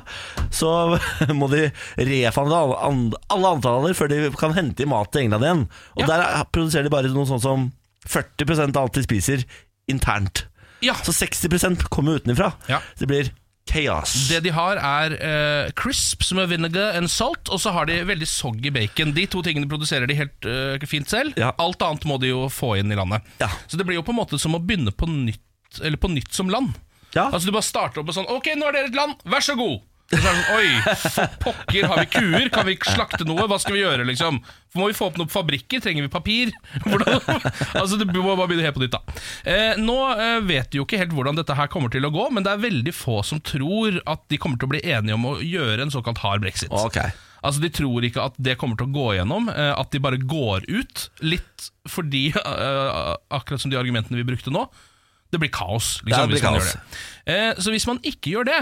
så [LAUGHS] må de refande alle, an- alle avtaler før de kan hente i mat til England igjen. Og
Ja.
der er- produserer de bare noe sånt som 40 av alt de spiser, internt.
Ja,
Så 60 kommer utenfra.
Ja.
Det blir kaos.
Det de har, er eh, crisps med vinegar and salt, og så har de veldig soggy bacon. De to tingene produserer de helt eh, fint selv.
Ja.
Alt annet må de jo få inn i landet.
Ja.
Så det blir jo på en måte som å begynne på nytt, eller på nytt som land.
Ja.
Altså Du bare starter opp med sånn Ok, nå er dere et land, vær så god! Og så er det sånn, Oi, for pokker, har vi kuer? Kan vi slakte noe? Hva skal vi gjøre, liksom? Må vi få opp noen fabrikker? Trenger vi papir? [LAUGHS] Hvordan? Altså, Det må bare begynne helt på nytt, da. Eh, nå eh, vet vi jo ikke helt hvordan dette her kommer til å gå, men det er veldig få som tror at de kommer til å bli enige om å gjøre en såkalt hard brexit.
Ok.
Altså, De tror ikke at det kommer til å gå igjennom, eh, at de bare går ut. Litt fordi, eh, akkurat som de argumentene vi brukte nå, det blir kaos.
Ja,
Liksom,
det blir
hvis man
kaos.
gjør det. Eh, Så hvis man ikke gjør det,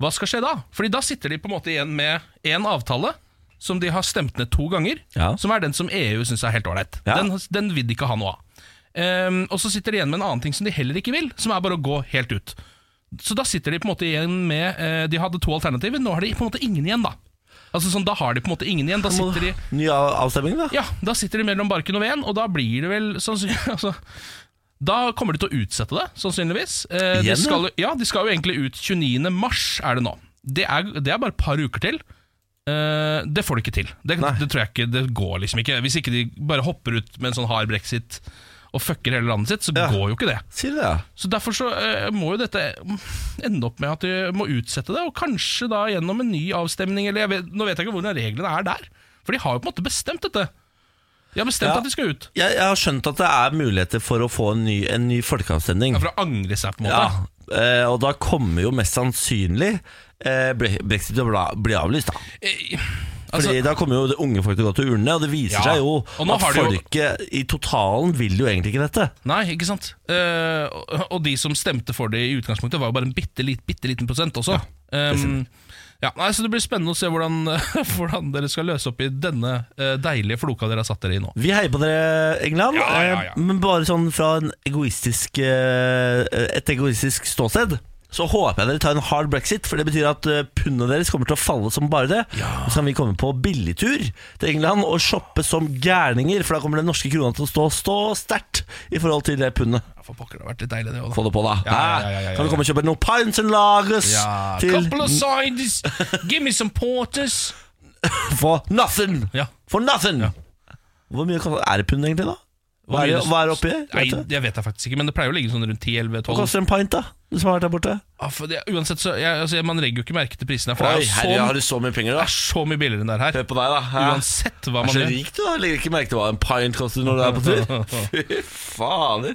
hva skal skje da? Fordi da sitter de på en måte igjen med én avtale. Som de har stemt ned to ganger,
Ja.
som er den som EU syns er helt ålreit.
Ja.
Den, den vil de ikke ha noe av. Ehm, og så sitter de igjen med en annen ting som de heller ikke vil, som er bare å gå helt ut. Så da sitter de på en måte igjen med eh, De hadde to alternativer, nå har de på en måte ingen igjen, da. Altså sånn, Da har de på en måte ingen igjen. Da sitter de
Ny av- avstemning, da?
Ja, da sitter de mellom barken og veden, og da blir det vel sannsynligvis [LAUGHS] altså, Da kommer de til å utsette det, sannsynligvis. Eh, de,
Igjen,
skal, ja, de skal jo egentlig ut 29. mars, er det nå. Det er, det er bare et par uker til. Eh, det får de ikke til. Det,
Nei.
det tror jeg ikke, det går liksom ikke. Hvis ikke de bare hopper ut med en sånn hard brexit og fucker hele landet sitt, så
Ja.
går jo ikke det.
Sier du det? ja?
Så Derfor så eh, må jo dette ende opp med at de må utsette det, og kanskje da gjennom en ny avstemning. Eller jeg vet, nå vet jeg ikke hvordan reglene er der, for de har jo på en måte bestemt dette. De har bestemt
Ja.
at de skal ut.
Jeg, jeg har skjønt at det er muligheter for å få en ny, en ny folkeavstemning.
Ja, For å angre seg, på en måte.
Ja, eh, og da kommer jo mest sannsynlig eh, bre- brexit til å bla- bli avlyst, da.
Eh,
Fordi
altså,
da kommer jo det unge folk til å gå til urnene, og det viser
Ja,
seg jo
og nå
at
har de jo-
folket i totalen vil jo egentlig ikke dette.
nei, ikke sant. Eh, og, og de som stemte for det i utgangspunktet, var jo bare en bitte, lit- bitte liten prosent også. Ja, ja, nei, så Det blir spennende å se hvordan, [LAUGHS] hvordan dere skal løse opp i denne eh, deilige floka dere har satt dere i nå.
Vi heier på dere, England,
Ja, ja, ja.
eh, men bare sånn fra en egoistisk, eh, et egoistisk ståsted. Så håper jeg dere tar en hard brexit, for det betyr at eh, pundet deres kommer til å falle som bare det. Og Så kan vi komme på billigtur til England og shoppe som gærninger, for da kommer den norske krona til å stå, stå sterkt i forhold til det pundet.
Ja, For pokker, det har vært litt deilig, det òg, da.
Få det på, da.
Ja, ja, ja, ja, ja, ja.
Kan du komme og kjøpe noen pints and lagers
Ja,
til
Couple of sides, give me some porters.
for nothing?
Ja.
For nothing! Hvor mye koster er det pund egentlig, da? Hva er,
mye
det- hva er det oppi?
Nei,
Vet du?
jeg vet det faktisk ikke, men det pleier å ligge sånn rundt 10-11-12.
Hva koster en pint, da? Du som har vært der borte?
Ah, for det- uansett, så jeg, altså, man legger jo ikke merke til prisene. her, For det er jo
herre,
så,
du så mye penger,
det er så mye billigere enn det er her.
på deg, da.
Uansett hva man gjør.
rik, du, da. Legger ikke merke til hva en pint koster når du er på tur.
[LAUGHS]
Fy fader.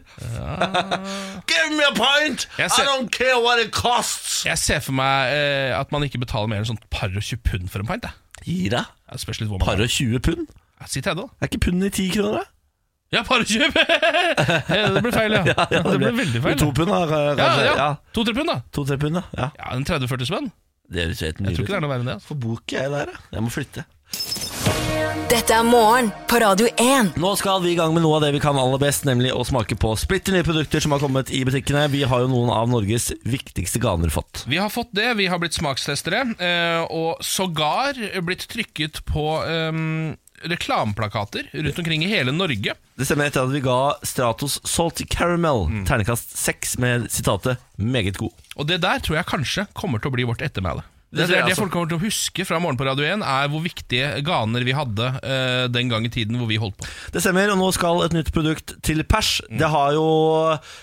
Give me a pint!
Jeg ser-
care what it costs!
Jeg ser for meg eh, at man ikke betaler mer enn sånn par og 20 pund for en pint. jeg.
Gi deg.
Ja, Det spørs litt hvor man
Par og 20 pund?
er. Si 30, da.
Er ikke pund i 10 kroner, da?
Ja, par og 20! [LAUGHS] Ja, det ble feil, ja.
[LAUGHS] ja,
det ble veldig feil.
To pund, da. ka-
Ja,
Kanskje.
ja.
Ja,
To-tre pund, da.
To-tre pund, da. Ja.
Ja, En 30-40 spenn.
Det høres helt
Jeg tror
nydelig
ikke det er
ut.
noe verre enn det. altså.
Hvorfor bor ikke jeg der, da? Jeg må flytte.
Dette er morgen på Radio 1.
Nå skal vi i gang med noe av det vi kan aller best, nemlig å smake på splitter nye produkter som har kommet i butikkene. Vi har jo noen av Norges viktigste ganer fått.
Vi har fått det, vi har blitt smakstestere, eh, og sågar blitt trykket på eh, reklameplakater rundt omkring i hele Norge.
Det stemmer etter at vi ga Stratos Salty Caramel
Mm.
ternekast 6 med sitatet 'meget god'.
Og det der tror jeg kanskje kommer til å bli vårt ettermæle. Det,
Det
er
tror jeg
det
altså.
folk kommer til å huske fra Morgen på Radio 1, er hvor viktige ganer vi hadde eh, den gang i tiden hvor vi holdt på.
Det stemmer, og nå skal et nytt produkt til pers.
Mm.
Det har jo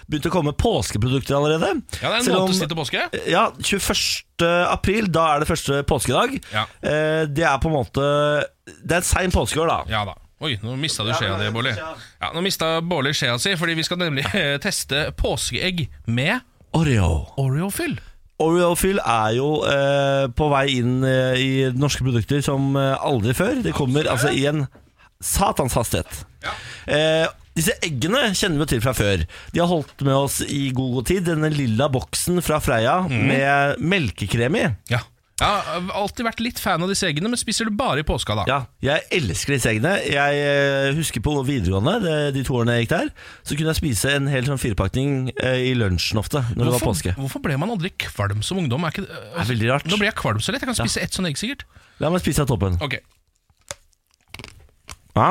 begynt å komme påskeprodukter allerede.
Ja, det er en
Selv om-
måned siden til påske.
Ja, 21. april, da er det første påskedag.
Ja.
Eh, Det er på en måte Det er en sein påskeår, da.
Ja da. Oi, nå mista du skjea di, Bårli. Ja, nå mista Bårli skjea si, fordi vi skal nemlig eh, teste påskeegg med
Oreo.
Oreo-fyll.
Oreofil er jo eh, på vei inn eh, i norske produkter som eh, aldri før. Det kommer altså i en satans hastighet. Eh, disse eggene kjenner vi jo til fra før. De har holdt med oss i god god tid. Denne lilla boksen fra Freia med melkekrem i.
Ja. ja. Jeg har alltid vært litt fan av disse eggene, men spiser du bare i påska, da?
Ja, jeg elsker disse eggene. Jeg eh, husker på videregående, det- de to årene jeg gikk der, så kunne jeg spise en hel sånn firepakning eh, i lunsjen ofte når det var påske.
hvorfor ble man aldri kvalm som ungdom? Er ikke, det-
er veldig rart.
Nå ble jeg kvalm så lett. Jeg kan spise ett sånn egg, sikkert.
La meg spise av toppen.
Ok,
Ja.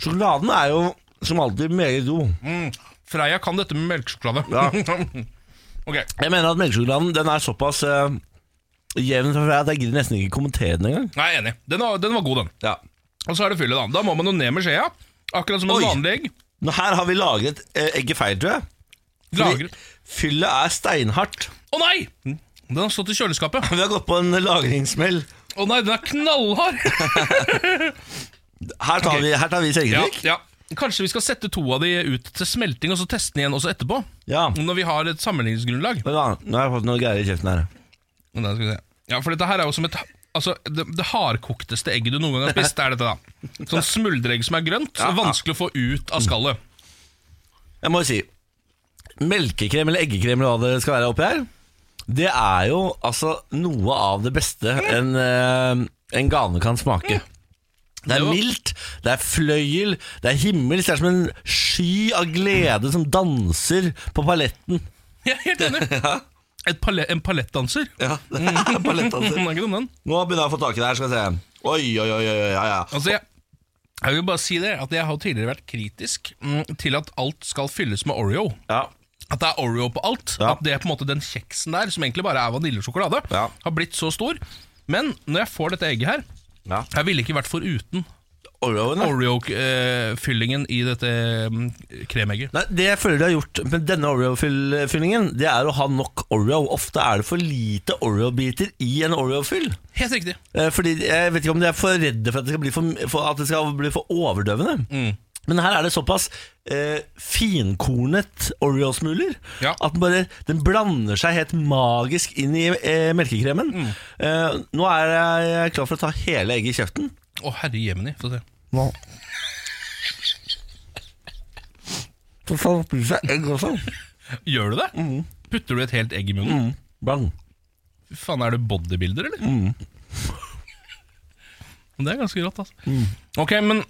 Sjokoladen er jo som alltid meget god.
Freia kan dette med melkesjokolade. [LAUGHS] ok,
Jeg mener at melkesjokoladen den er såpass eh, jevn fra Freia at jeg gidder nesten ikke kommentere den engang.
Nei, jeg er enig. Den var, den var god, den. Og så er det fyllet, da. Da må man jo ned med skjea. Akkurat som en
Oi.
vanlig egg.
Nå her har vi lagret eh, egget feil, tror jeg. Fordi
Lagret.
Fyllet er steinhardt.
Å nei! Den har stått i kjøleskapet.
Vi har gått på en lagringssmell.
Å nei, den er knallhard!
[LAUGHS] Her tar
Ok.
vi, her tar vi
ja,
selvkritikk.
ja. Kanskje vi skal sette to av de ut til smelting, og så teste den igjen også etterpå?
Ja.
Når vi har et sammenligningsgrunnlag.
Vent da, Nå har jeg fått noe greier i kjeften her.
Men da skal vi se. Ja, for dette her er jo som et Altså, det, det hardkokteste egget du noen gang har spist, det er dette, da. Sånn smuldregg som er grønt. så Vanskelig å få ut av
[LAUGHS]
skallet.
Jeg må jo si Melkekrem eller eggekrem eller hva det skal være oppi her Det er jo altså noe av det beste
Mm.
en, eh, en gane kan smake Det er
Jo.
mildt, det er fløyel, det er himmel Det er som en
[LAUGHS]
sky av glede som danser på paletten
Jeg er helt enig. Et pale en palettdanser.
Ja, [LAUGHS] det er
[LAUGHS]
ballettdanser.
Mm, det er ikke noe om den.
Nå begynner jeg å få tak i det her, skal vi se. Oi, oi, oi, oi, oi, ja, ja.
Altså, jeg, jeg vil bare si det, at jeg har tidligere vært kritisk mm, til at alt skal fylles med Oreo.
ja.
At det er Oreo på alt.
Ja.
At det er på en måte den kjeksen der, som egentlig bare er vaniljesjokolade,
Ja.
har blitt så stor. Men når jeg får dette egget her
Ja.
Jeg ville ikke vært foruten
Oreoen, ja.
Oreo-fyllingen i dette mm, kremegget.
Nei, Det jeg føler de har gjort med denne Oreo-fyllingen, det er å ha nok Oreo. Ofte er det for lite Oreo-biter i en Oreo-fyll.
Helt riktig.
Eh, Fordi Jeg vet ikke om de er for redde for at det skal bli for, for, at det skal bli for overdøvende. Men her er det såpass eh, finkornet Oreo-smuler
Ja.
at den bare den blander seg helt magisk inn i eh, melkekremen. Eh, nå er jeg klar for å ta hele egget i kjeften.
Å, herre jemini. Få se.
For faen, spiser jeg egg også?
Gjør du det? Putter du et helt egg i munnen?
Bang.
Fy Faen, er du bodybuilder, eller? Men [LAUGHS] Det er ganske rått, altså. Ok, men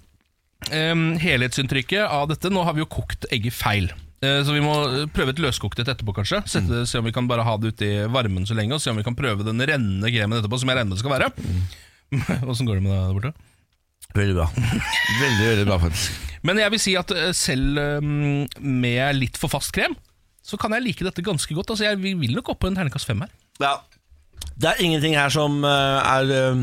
em, helhetsinntrykket av dette Nå har vi jo kokt egget feil. Eh, Så vi må eh, prøve et løskokt et etterpå, kanskje. Sette, Se om vi kan bare ha det ute i varmen så lenge, og se om vi kan prøve den rennende kremen etterpå, som jeg regner med det skal være. [LAUGHS] Åssen går det med deg der borte?
Veldig bra.
Veldig, veldig bra, faktisk.
Men jeg vil si at eh, selv em, med litt for fast krem, så kan jeg like dette ganske godt. Altså, jeg vi vil nok opp på en terningkast fem her.
Ja.
Det er ingenting her som eh, er eh,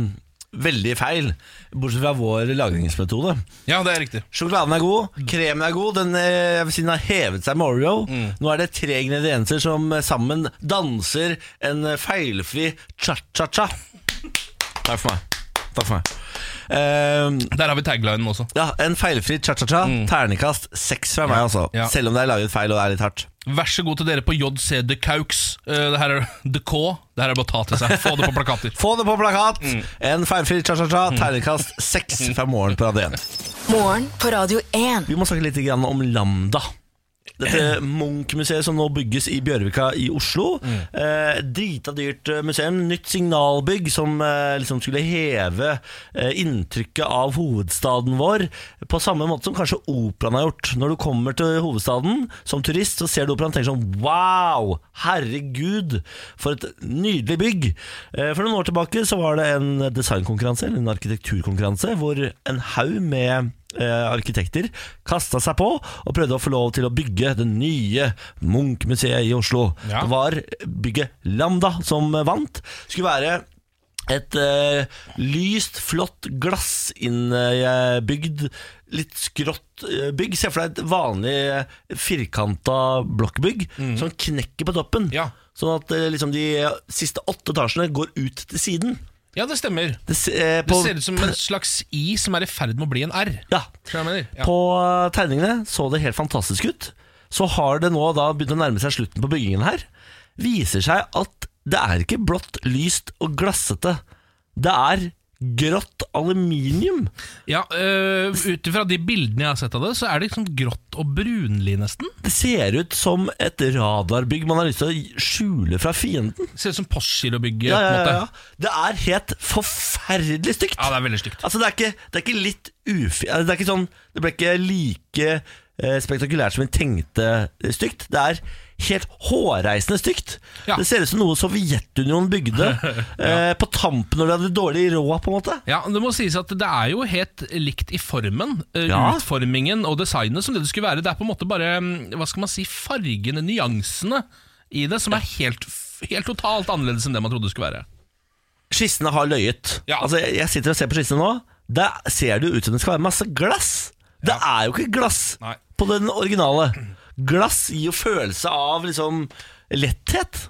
veldig feil, bortsett fra vår lagringsmetode.
Ja, det er riktig.
Sjokoladen er god, kremen er god, den, eh, jeg vil si den har hevet seg med Oreo.
Mm.
Nå er det tre ingredienser som eh, sammen danser en eh, feilfri cha-cha-cha. Takk for meg. Takk for meg. Eh,
Der har vi taglinen også.
ja, en feilfri cha-cha-cha. Ternekast seks fra meg, altså.
Mm. Ja.
Selv om det er laget feil og det er litt hardt.
Vær så god til dere på JC De Caux. Eh, Det her er The K. Det her er bare å ta til seg. Få det på plakater.
Få det på plakat!
Mm.
En feilfri cha-cha-cha. Ternekast seks
[LAUGHS]
fra morgen på Radio 1.
Morgen på Radio 1.
Vi må snakke litt grann om Lambda. Dette Munch-museet som nå bygges i Bjørvika i Oslo. Eh, drita dyrt eh, museum. Nytt signalbygg som eh, liksom skulle heve eh, inntrykket av hovedstaden vår. På samme måte som kanskje operaen har gjort. Når du kommer til hovedstaden som turist, så ser du operaen og tenker sånn Wow! Herregud, for et nydelig bygg. Eh, for noen år tilbake så var det en designkonkurranse, eller en arkitekturkonkurranse, hvor en haug med eh, arkitekter kasta seg på og prøvde å få lov til å bygge det nye Munch-museet i Oslo.
Ja.
Det var bygget Lambda som vant. Skulle være et eh, lyst, flott, glassinnbygd, litt skrått eh, bygg. Se for deg et vanlig eh, firkanta blokkbygg som knekker på toppen.
Mm. Ja.
Sånn at eh, liksom de siste åtte etasjene går ut til siden.
[LAUGHS] Ja, det stemmer.
Det, se- eh,
Det
på-
ser ut som en slags I som er i ferd med å bli en R.
ja,
Tror jeg mener. Ja.
På eh, tegningene så det helt fantastisk ut. Så har det nå da begynt å nærme seg slutten på byggingen her. Viser seg at det er ikke blått, lyst og glassete. Det er grått aluminium.
Ja, øh, Ut ifra de bildene jeg har sett av det, så er det liksom grått og brunlig, nesten.
Det ser ut som et radarbygg man har lyst til å skjule fra fienden.
Ser ut som Postgirobygget.
Ja, ja,
på en
ja,
måte.
ja. Det er helt forferdelig stygt.
ja, det er veldig stygt.
Altså, det er ikke, det er ikke litt ufi... altså, Det er ikke sånn Det ble ikke like eh, spektakulært som vi tenkte eh, stygt. Det er helt hårreisende stygt.
Ja.
Det ser ut som noe Sovjetunionen bygde
[LAUGHS]
eh, på tampen når de hadde dårlig råd, på en måte.
Ja, Det må sies at det er jo helt likt i formen. eh,
Ja.
Utformingen og designet som det det skulle være. Det er på en måte bare mm, hva skal man si, fargene, nyansene i det, som er helt, f- helt totalt annerledes enn det man trodde det skulle være.
Skissene har løyet.
Ja.
Altså, jeg, jeg sitter og ser på skissene nå. Der ser det jo ut som det skal være masse glass. Det er jo ikke glass
Nei.
på den originale. Glass gir jo følelse av liksom letthet.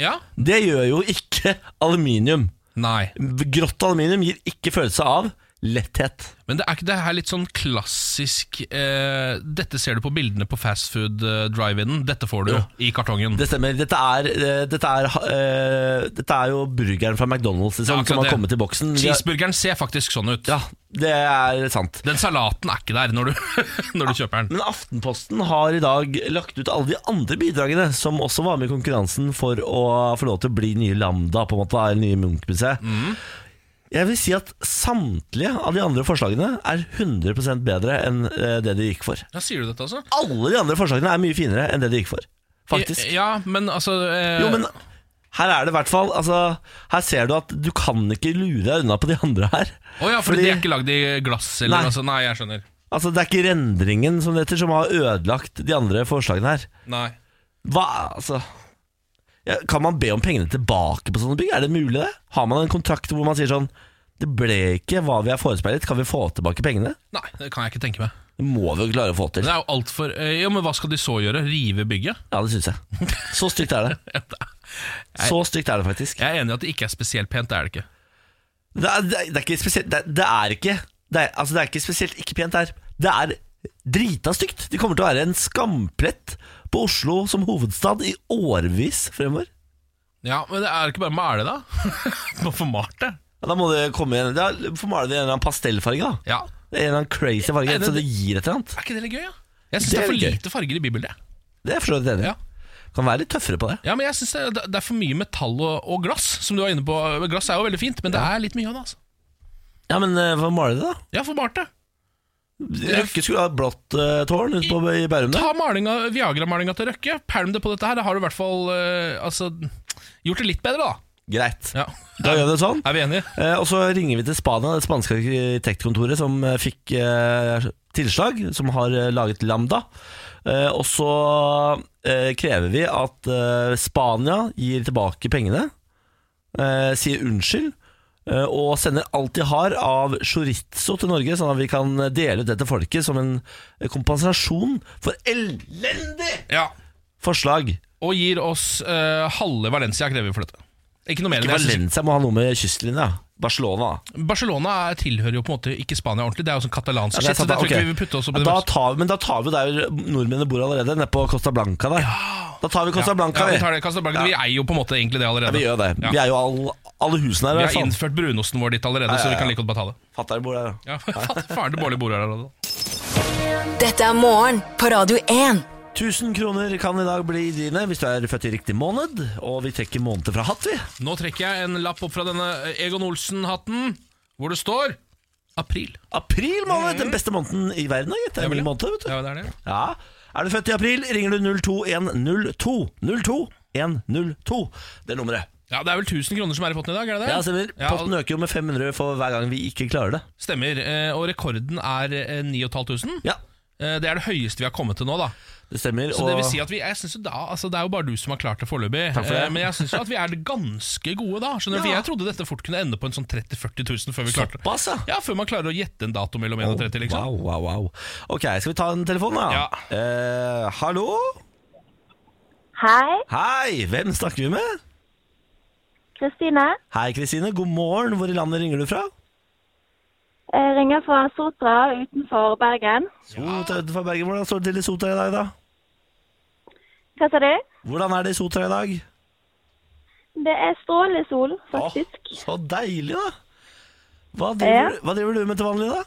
Ja?
Det gjør jo ikke aluminium.
Nei.
Grått aluminium gir ikke følelse av letthet.
Men det er ikke det her litt sånn klassisk eh, Dette ser du på bildene på fastfood eh, drive-in. Dette får du jo i kartongen.
Det stemmer. Dette er, eh, dette er, eh, dette er jo burgeren fra McDonald's
Ja,
liksom,
akkurat
som har
det.
kommet i boksen. Vi har-
Cheeseburgeren ser faktisk sånn ut.
Ja, det er sant.
Den salaten er ikke der når du, [LAUGHS] når du kjøper den.
Men Aftenposten har i dag lagt ut alle de andre bidragene som også var med i konkurransen for å få lov til å bli nye Lambda, på en måte, da, eller nye Munch-museet.
Mhm.
Jeg vil si at samtlige av de andre forslagene er 100 bedre enn eh, det de gikk for.
Ja, sier du dette, altså?
alle de andre forslagene er mye finere enn det de gikk for. faktisk.
Ja, men altså eh,
Jo, men her er det i hvert fall altså, Her ser du at du kan ikke lure deg unna på de andre her.
Å ja, fordi, de er ikke lagd i glass eller
Nei.
noe sånt? Nei, jeg skjønner.
altså, det er ikke rendringen som, det heter, som har ødelagt de andre forslagene her.
Nei.
Hva, altså ja, Kan man be om pengene tilbake på sånne bygg? Er det mulig det? Har man en kontrakt hvor man sier sånn Det ble ikke hva vi er forespeilet, kan vi få tilbake pengene?
Nei, det kan jeg ikke tenke meg.
Det må vi jo klare å få til.
Det er jo altfor eh, Ja, men hva skal de så gjøre? Rive bygget?
Ja, det syns jeg. Så stygt er
[LAUGHS]
det. Så stygt er det faktisk.
Jeg er enig i at det ikke er spesielt pent, det er det ikke.
Det er, det er, det er ikke spesielt det, er- det er ikke det er, altså det er ikke spesielt ikke pent her. Det er drita stygt. Det kommer til å være en skamplett på Oslo som hovedstad i årevis fremover.
Ja, men det er ikke bare å male, da? [LAUGHS] Bare få malt det?
Ja, da må det komme igjen. Da får male det i en eller annen pastellfarge. da
Ja.
Det er En eller annen crazy farge,
Er det-
så det gir et eller annet.
Er ikke det litt gøy, ja? Jeg syns
Det
det,
er
er for
litt gøy.
lite farger i bybildet.
Det er jeg for så vidt enig i.
Ja.
Kan være litt tøffere på det.
Ja, men jeg synes det, det er for mye metall og, og glass, som du var inne på. Glass er jo veldig fint, men det er litt mye av det, altså.
Ja, men eh, hva maler de, da?
Ja, få malt det.
Røkke skulle ha et blått eh, tårn ute på i Bærum der.
Ta malinga- Viagra-malinga til Røkke, pælm det på dette her. Da har du i hvert fall eh, altså, gjort det litt bedre, da.
Greit.
Ja.
Da gjør vi det sånn.
Er vi enige?
Eh, Og så ringer vi til Spania, det spanske arkitektkontoret som eh, fikk eh, tilslag, som har eh, laget Lambda. Eh, og så eh, krever vi at eh, Spania gir tilbake pengene, eh, sier unnskyld, eh, og sender alt de har av chorizo til Norge, sånn at vi kan dele ut det til folket som en eh, kompensasjon for elendig
Ja.
forslag.
Og gir oss eh, halve Valencia, krever vi for dette. Ikke noe mer enn det. Jeg synes-
Valencia må ha noe med kystlinja. Barcelona.
Barcelona er- tilhører jo på en måte ikke Spania ordentlig. Det er jo sånn katalansk shit, så
sant,
det tror jeg
ok.
ikke vi vil putte oss opp i.
Ja,
det
da tar vi, Men da tar vi der nordmennene bor allerede, nede på Costa Blanca der. Da tar vi Costa Blanca,
ja,
vi.
vi, tar det, Costa Blanca. vi er jo på en måte egentlig det
Ja,
allerede.
vi gjør det.
Ja.
Vi er sånn. jo all, alle husene her. i
Vi har
hvert fall.
innført brunosten vår dit allerede, så vi kan like godt bare ta det.
Fatter'n bor der, ja.
Ja, [LAUGHS] Faren til Bårli bor her altså. allerede.
Dette er morgen på Radio 1.
1000 kroner kan i dag bli dine hvis du er født i riktig måned. Og vi trekker måneder fra hatt, vi.
Nå trekker jeg en lapp opp fra denne eh, Egon Olsen-hatten, hvor det står april.
April måned! Den beste måneden i verden, da, gitt. Det er min måned, vet du.
Ja, det er det.
Ja. Er du født i april, ringer du 02102. 02102. Det er nummeret.
Ja, det er vel 1000 kroner som er i potten i dag, er det det?
Ja, stemmer.
Ja,
Potten øker jo med 500 for hver gang vi ikke klarer det.
stemmer. Eh, Og rekorden er eh, 9500.
Ja,
Eh, Det er det høyeste vi har kommet til nå, da.
det stemmer.
Så
og-
det vil si at vi, jeg synes jo da, altså det er jo bare du som har klart det foreløpig.
Takk for det.
Eh, Men jeg syns jo at vi er ganske gode da. Skjønner du? For jeg trodde dette fort kunne ende på en sånn 30 000-40 000 før vi klarte det.
Såpass, ja.
Ja, før man klarer å gjette en dato mellom 1 og 30, liksom.
Wow, wow, wow. Ok, skal vi ta en telefon, da?
Ja.
Eh, hallo?
Hei,
Hei, hvem snakker vi med?
Kristine.
Hei, Kristine. God morgen. Hvor i landet ringer du fra?
Jeg ringer fra Sotra utenfor Bergen.
Sotra utenfor Bergen. Hvordan står det til i Sotra i dag, da?
Hva sa du?
Hvordan er det i Sotra i dag?
Det er strålende sol, faktisk.
Å, så deilig, da. Hva driver,
Ja.
hva driver du med til vanlig, da?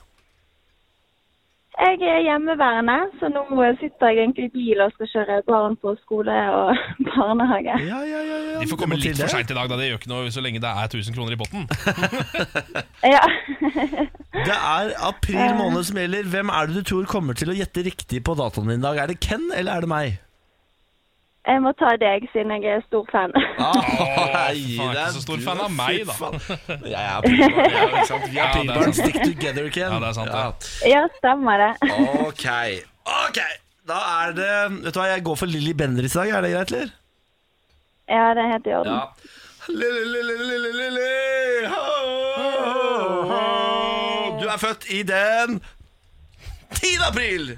Jeg er hjemmeværende, så nå sitter jeg egentlig i bil og skal kjøre barn på skole og [LAUGHS] barnehage.
Ja, ja, ja. ja.
De får
Du
komme
må til
litt
det.
for seint i dag, da. Det gjør ikke noe så lenge det er 1000 kroner
[LAUGHS]
i potten.
Ja.
Det er april måned som gjelder. Hvem er det du tror kommer til å gjette riktig på datoen din i dag? Er det Ken, eller er det meg?
Jeg må ta deg, siden jeg er stor fan.
[LAUGHS] Nei,
faen,
det
ikke så stor
du,
fan av
fy
meg, da. [LAUGHS]
faen. Jeg er aprilbarn. Ja, ikke sant? Vi er
Ja, det er
aprilbarn.
sant.
Stick together, Ken.
Ja, det er sant, det.
Ja, stemmer det.
Ok. Ok. Da er det Vet du hva, jeg går for Lilly Bendriss i dag. Er det greit, eller?
Ja, det er helt i orden.
Lilly, Lilly, Lilly, Lilly. Ho, ho, ho. Du er født i den 10. april!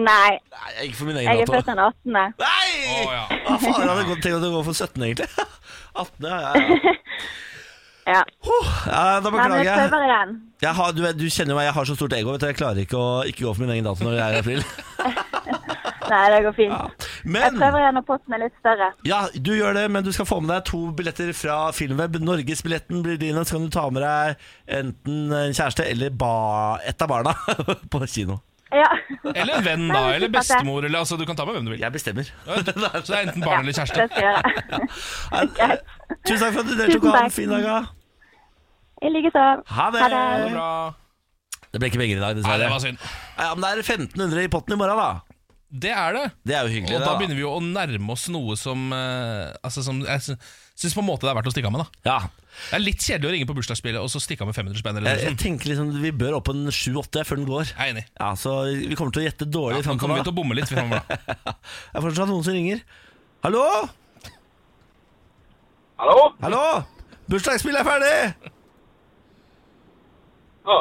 Nei,
Nei, jeg gikk for min
jeg
egen
er
dato.
født den 18.
Nei!
Å, ja.
Hva faen, jeg hadde godt tenkt at jeg går for 17, egentlig. [LAUGHS] 18, ja, ja,
[LAUGHS]
ja.
Ja,
Huh, ja da
men
beklager
jeg
jeg.
prøver igjen.
jeg har, du, vet- du kjenner jo meg, jeg har så stort ego, vet du. Jeg klarer ikke å ikke gå for min egen dato når det er i april. [LAUGHS]
Nei, det går fint. Jeg
Men
prøver igjen når potten er litt større.
Ja, du gjør det, men du skal få med deg to billetter fra Filmweb. Norgesbilletten blir din, og så kan du ta med deg enten en kjæreste eller ba et av barna [LAUGHS] på kino.
Ja.
Eller en venn, da. Eller bestemor. Eller, altså, du kan ta med
[LAUGHS]
hvem du vil.
Jeg bestemmer.
Så det er enten barn eller
Det
kjæreste.
skal jeg gjøre.
Nei, eh, Tusen takk for at du deltok.
Tusen
Ha en
takk.
fin dag. da.
I like så.
Ha det.
Ha det.
Ha det bra.
Det ble ikke penger i dag,
Nei,
dessverre.
det var synd.
Ja, men det er 1500 i potten i morgen, da.
Det er det.
Det er jo hyggelig,
Og
det,
da
da.
begynner vi jo å nærme oss noe som, eh, altså som Jeg sy- syns på en måte det er verdt å stikke av med. da
Ja.
Det er litt kjedelig å ringe på bursdagsspillet og så stikke av med 500 spenn. Eller
Jeg, jeg
noe sånt.
tenker liksom vi bør opp en 7-8 før den går.
Jeg er enig.
Ja, Så vi kommer til å gjette
Ja,
dårlig
nå kommer
fremover,
vi til å bomme litt fremover, da. [LAUGHS]
da. Det er fortsatt noen som ringer. Hallo?
Hallo?
Hallo? Bursdagsspillet er ferdig!
Ja.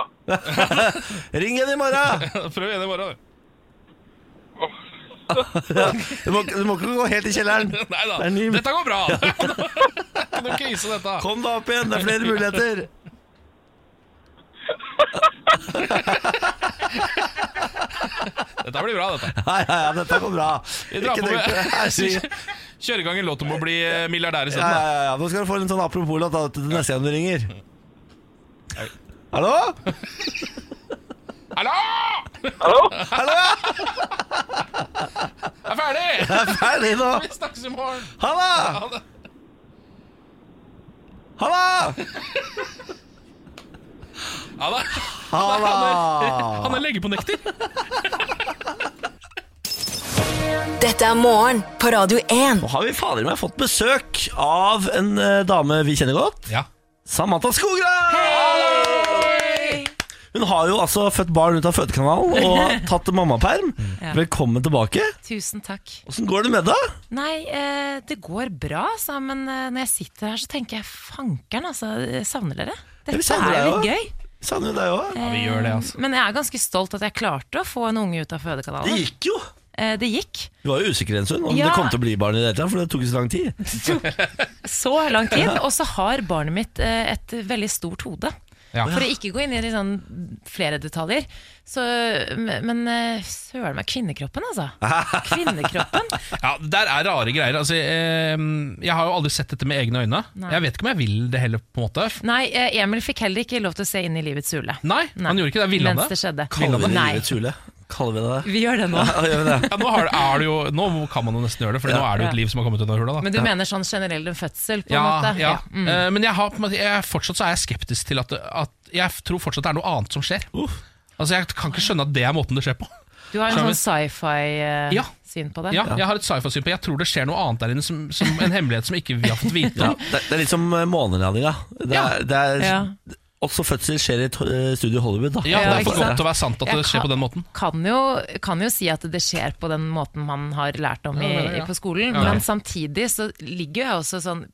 [LAUGHS] Ring igjen i morgen!
Prøv igjen i morgen. du.
Du må, du må ikke gå helt i kjelleren.
[LAUGHS] Nei da.
Det er ny-
Dette går
[LAUGHS]
bra! [LAUGHS] Kan du krise dette?
Kom deg opp igjen, det er flere muligheter.
Dette blir bra, dette.
Nei, ja, ja, dette går bra.
Vi drar
Ikke
på
tenk på det.
[LAUGHS] med Kjøre i gang en låt om å bli eh, milliardær i
Ja,
stedet.
ja, ja. Nå skal du få en sånn apropos-låt da, til neste gang du ringer. Hallo?
da. Hallo!
Hallo?
[LAUGHS]
Hallo, ja!
Jeg er ferdig!
Det er ferdig nå.
[LAUGHS] Vi snakkes i morgen.
Halla!
Ha det.
Halla!
Ha det.
[LAUGHS]
Halla!
Han er lege på nekter.
Dette er morgen på Radio 1.
Nå har vi fader meg fått besøk av en eh, dame vi kjenner godt.
Ja.
Samantha Skogran! Hun har jo altså født barn ut av fødekanalen og tatt mammaperm.
Ja.
Velkommen tilbake.
Tusen takk.
Åssen går det med deg?
Nei, eh, det går bra, sa men eh, når jeg sitter her, så tenker jeg fankeren, altså. Jeg savner dere.
vi
Dette
savner
er jo
deg
litt gøy.
Savner jo deg òg.
vi gjør det, altså.
Men jeg er ganske stolt at jeg klarte å få en unge ut av
Det
fødekanalen.
gikk jo.
Eh, det gikk
Du var jo usikker en stund om
Ja.
det kom til å bli barn i det hele tatt, for det tok jo så lang tid.
så lang tid, og så har barnet mitt eh, et veldig stort hode.
Ja.
For å ikke gå inn i litt sånn flere detaljer. Så, men eh, søren meg, kvinnekroppen,
[LAUGHS]
altså. Kvinnekroppen.
Ja, Der er rare greier. Altså, eh, jeg har jo aldri sett dette med egne øyne.
Nei.
Jeg vet ikke om jeg vil det heller. på en måte
Nei, eh, Emil fikk heller ikke lov til å se inn i livets hule.
Nei, han gjorde ikke det. Ville han
Mens
det?
det skjedde.
Kaller vi det
Nei,
livets hule? Kaller vi det det?
vi gjør det
[LAUGHS]
nå.
Ja, gjør vi det?
Ja, nå, har det, er det jo, nå kan man jo nesten gjøre det, for nå er det jo et
Ja.
liv som har kommet ut av hula. Da.
Men du mener sånn generell en fødsel, på en
Ja,
måte?
ja.
Mm.
Eh, men jeg har, på en måte, jeg, fortsatt så er jeg skeptisk til at, at Jeg tror fortsatt det er noe annet som skjer.
Uff.
Altså, Jeg kan ikke skjønne at det er måten det skjer på.
Du har en
Skjønner.
sånn sci-fi-syn
Ja.
på det?
Ja, Jeg har et sci-fi-syn på Jeg tror det skjer noe annet der inne som, som en hemmelighet som ikke vi har fått vite
Ja,
om.
det, det er litt som eh, månelandinga. Det
Ja.
er, det er,
Ja.
Også fødsel skjer i et eh, studio i Hollywood, da.
Ja, Det er
ikke
for
sant?
godt til å være sant at
Jeg
det skjer
kan-
på den måten.
Kan jo, kan jo si at det skjer på den måten man har lært om i,
Ja, ja, ja.
i- på skolen,
Ja.
men samtidig så ligger jeg også sånn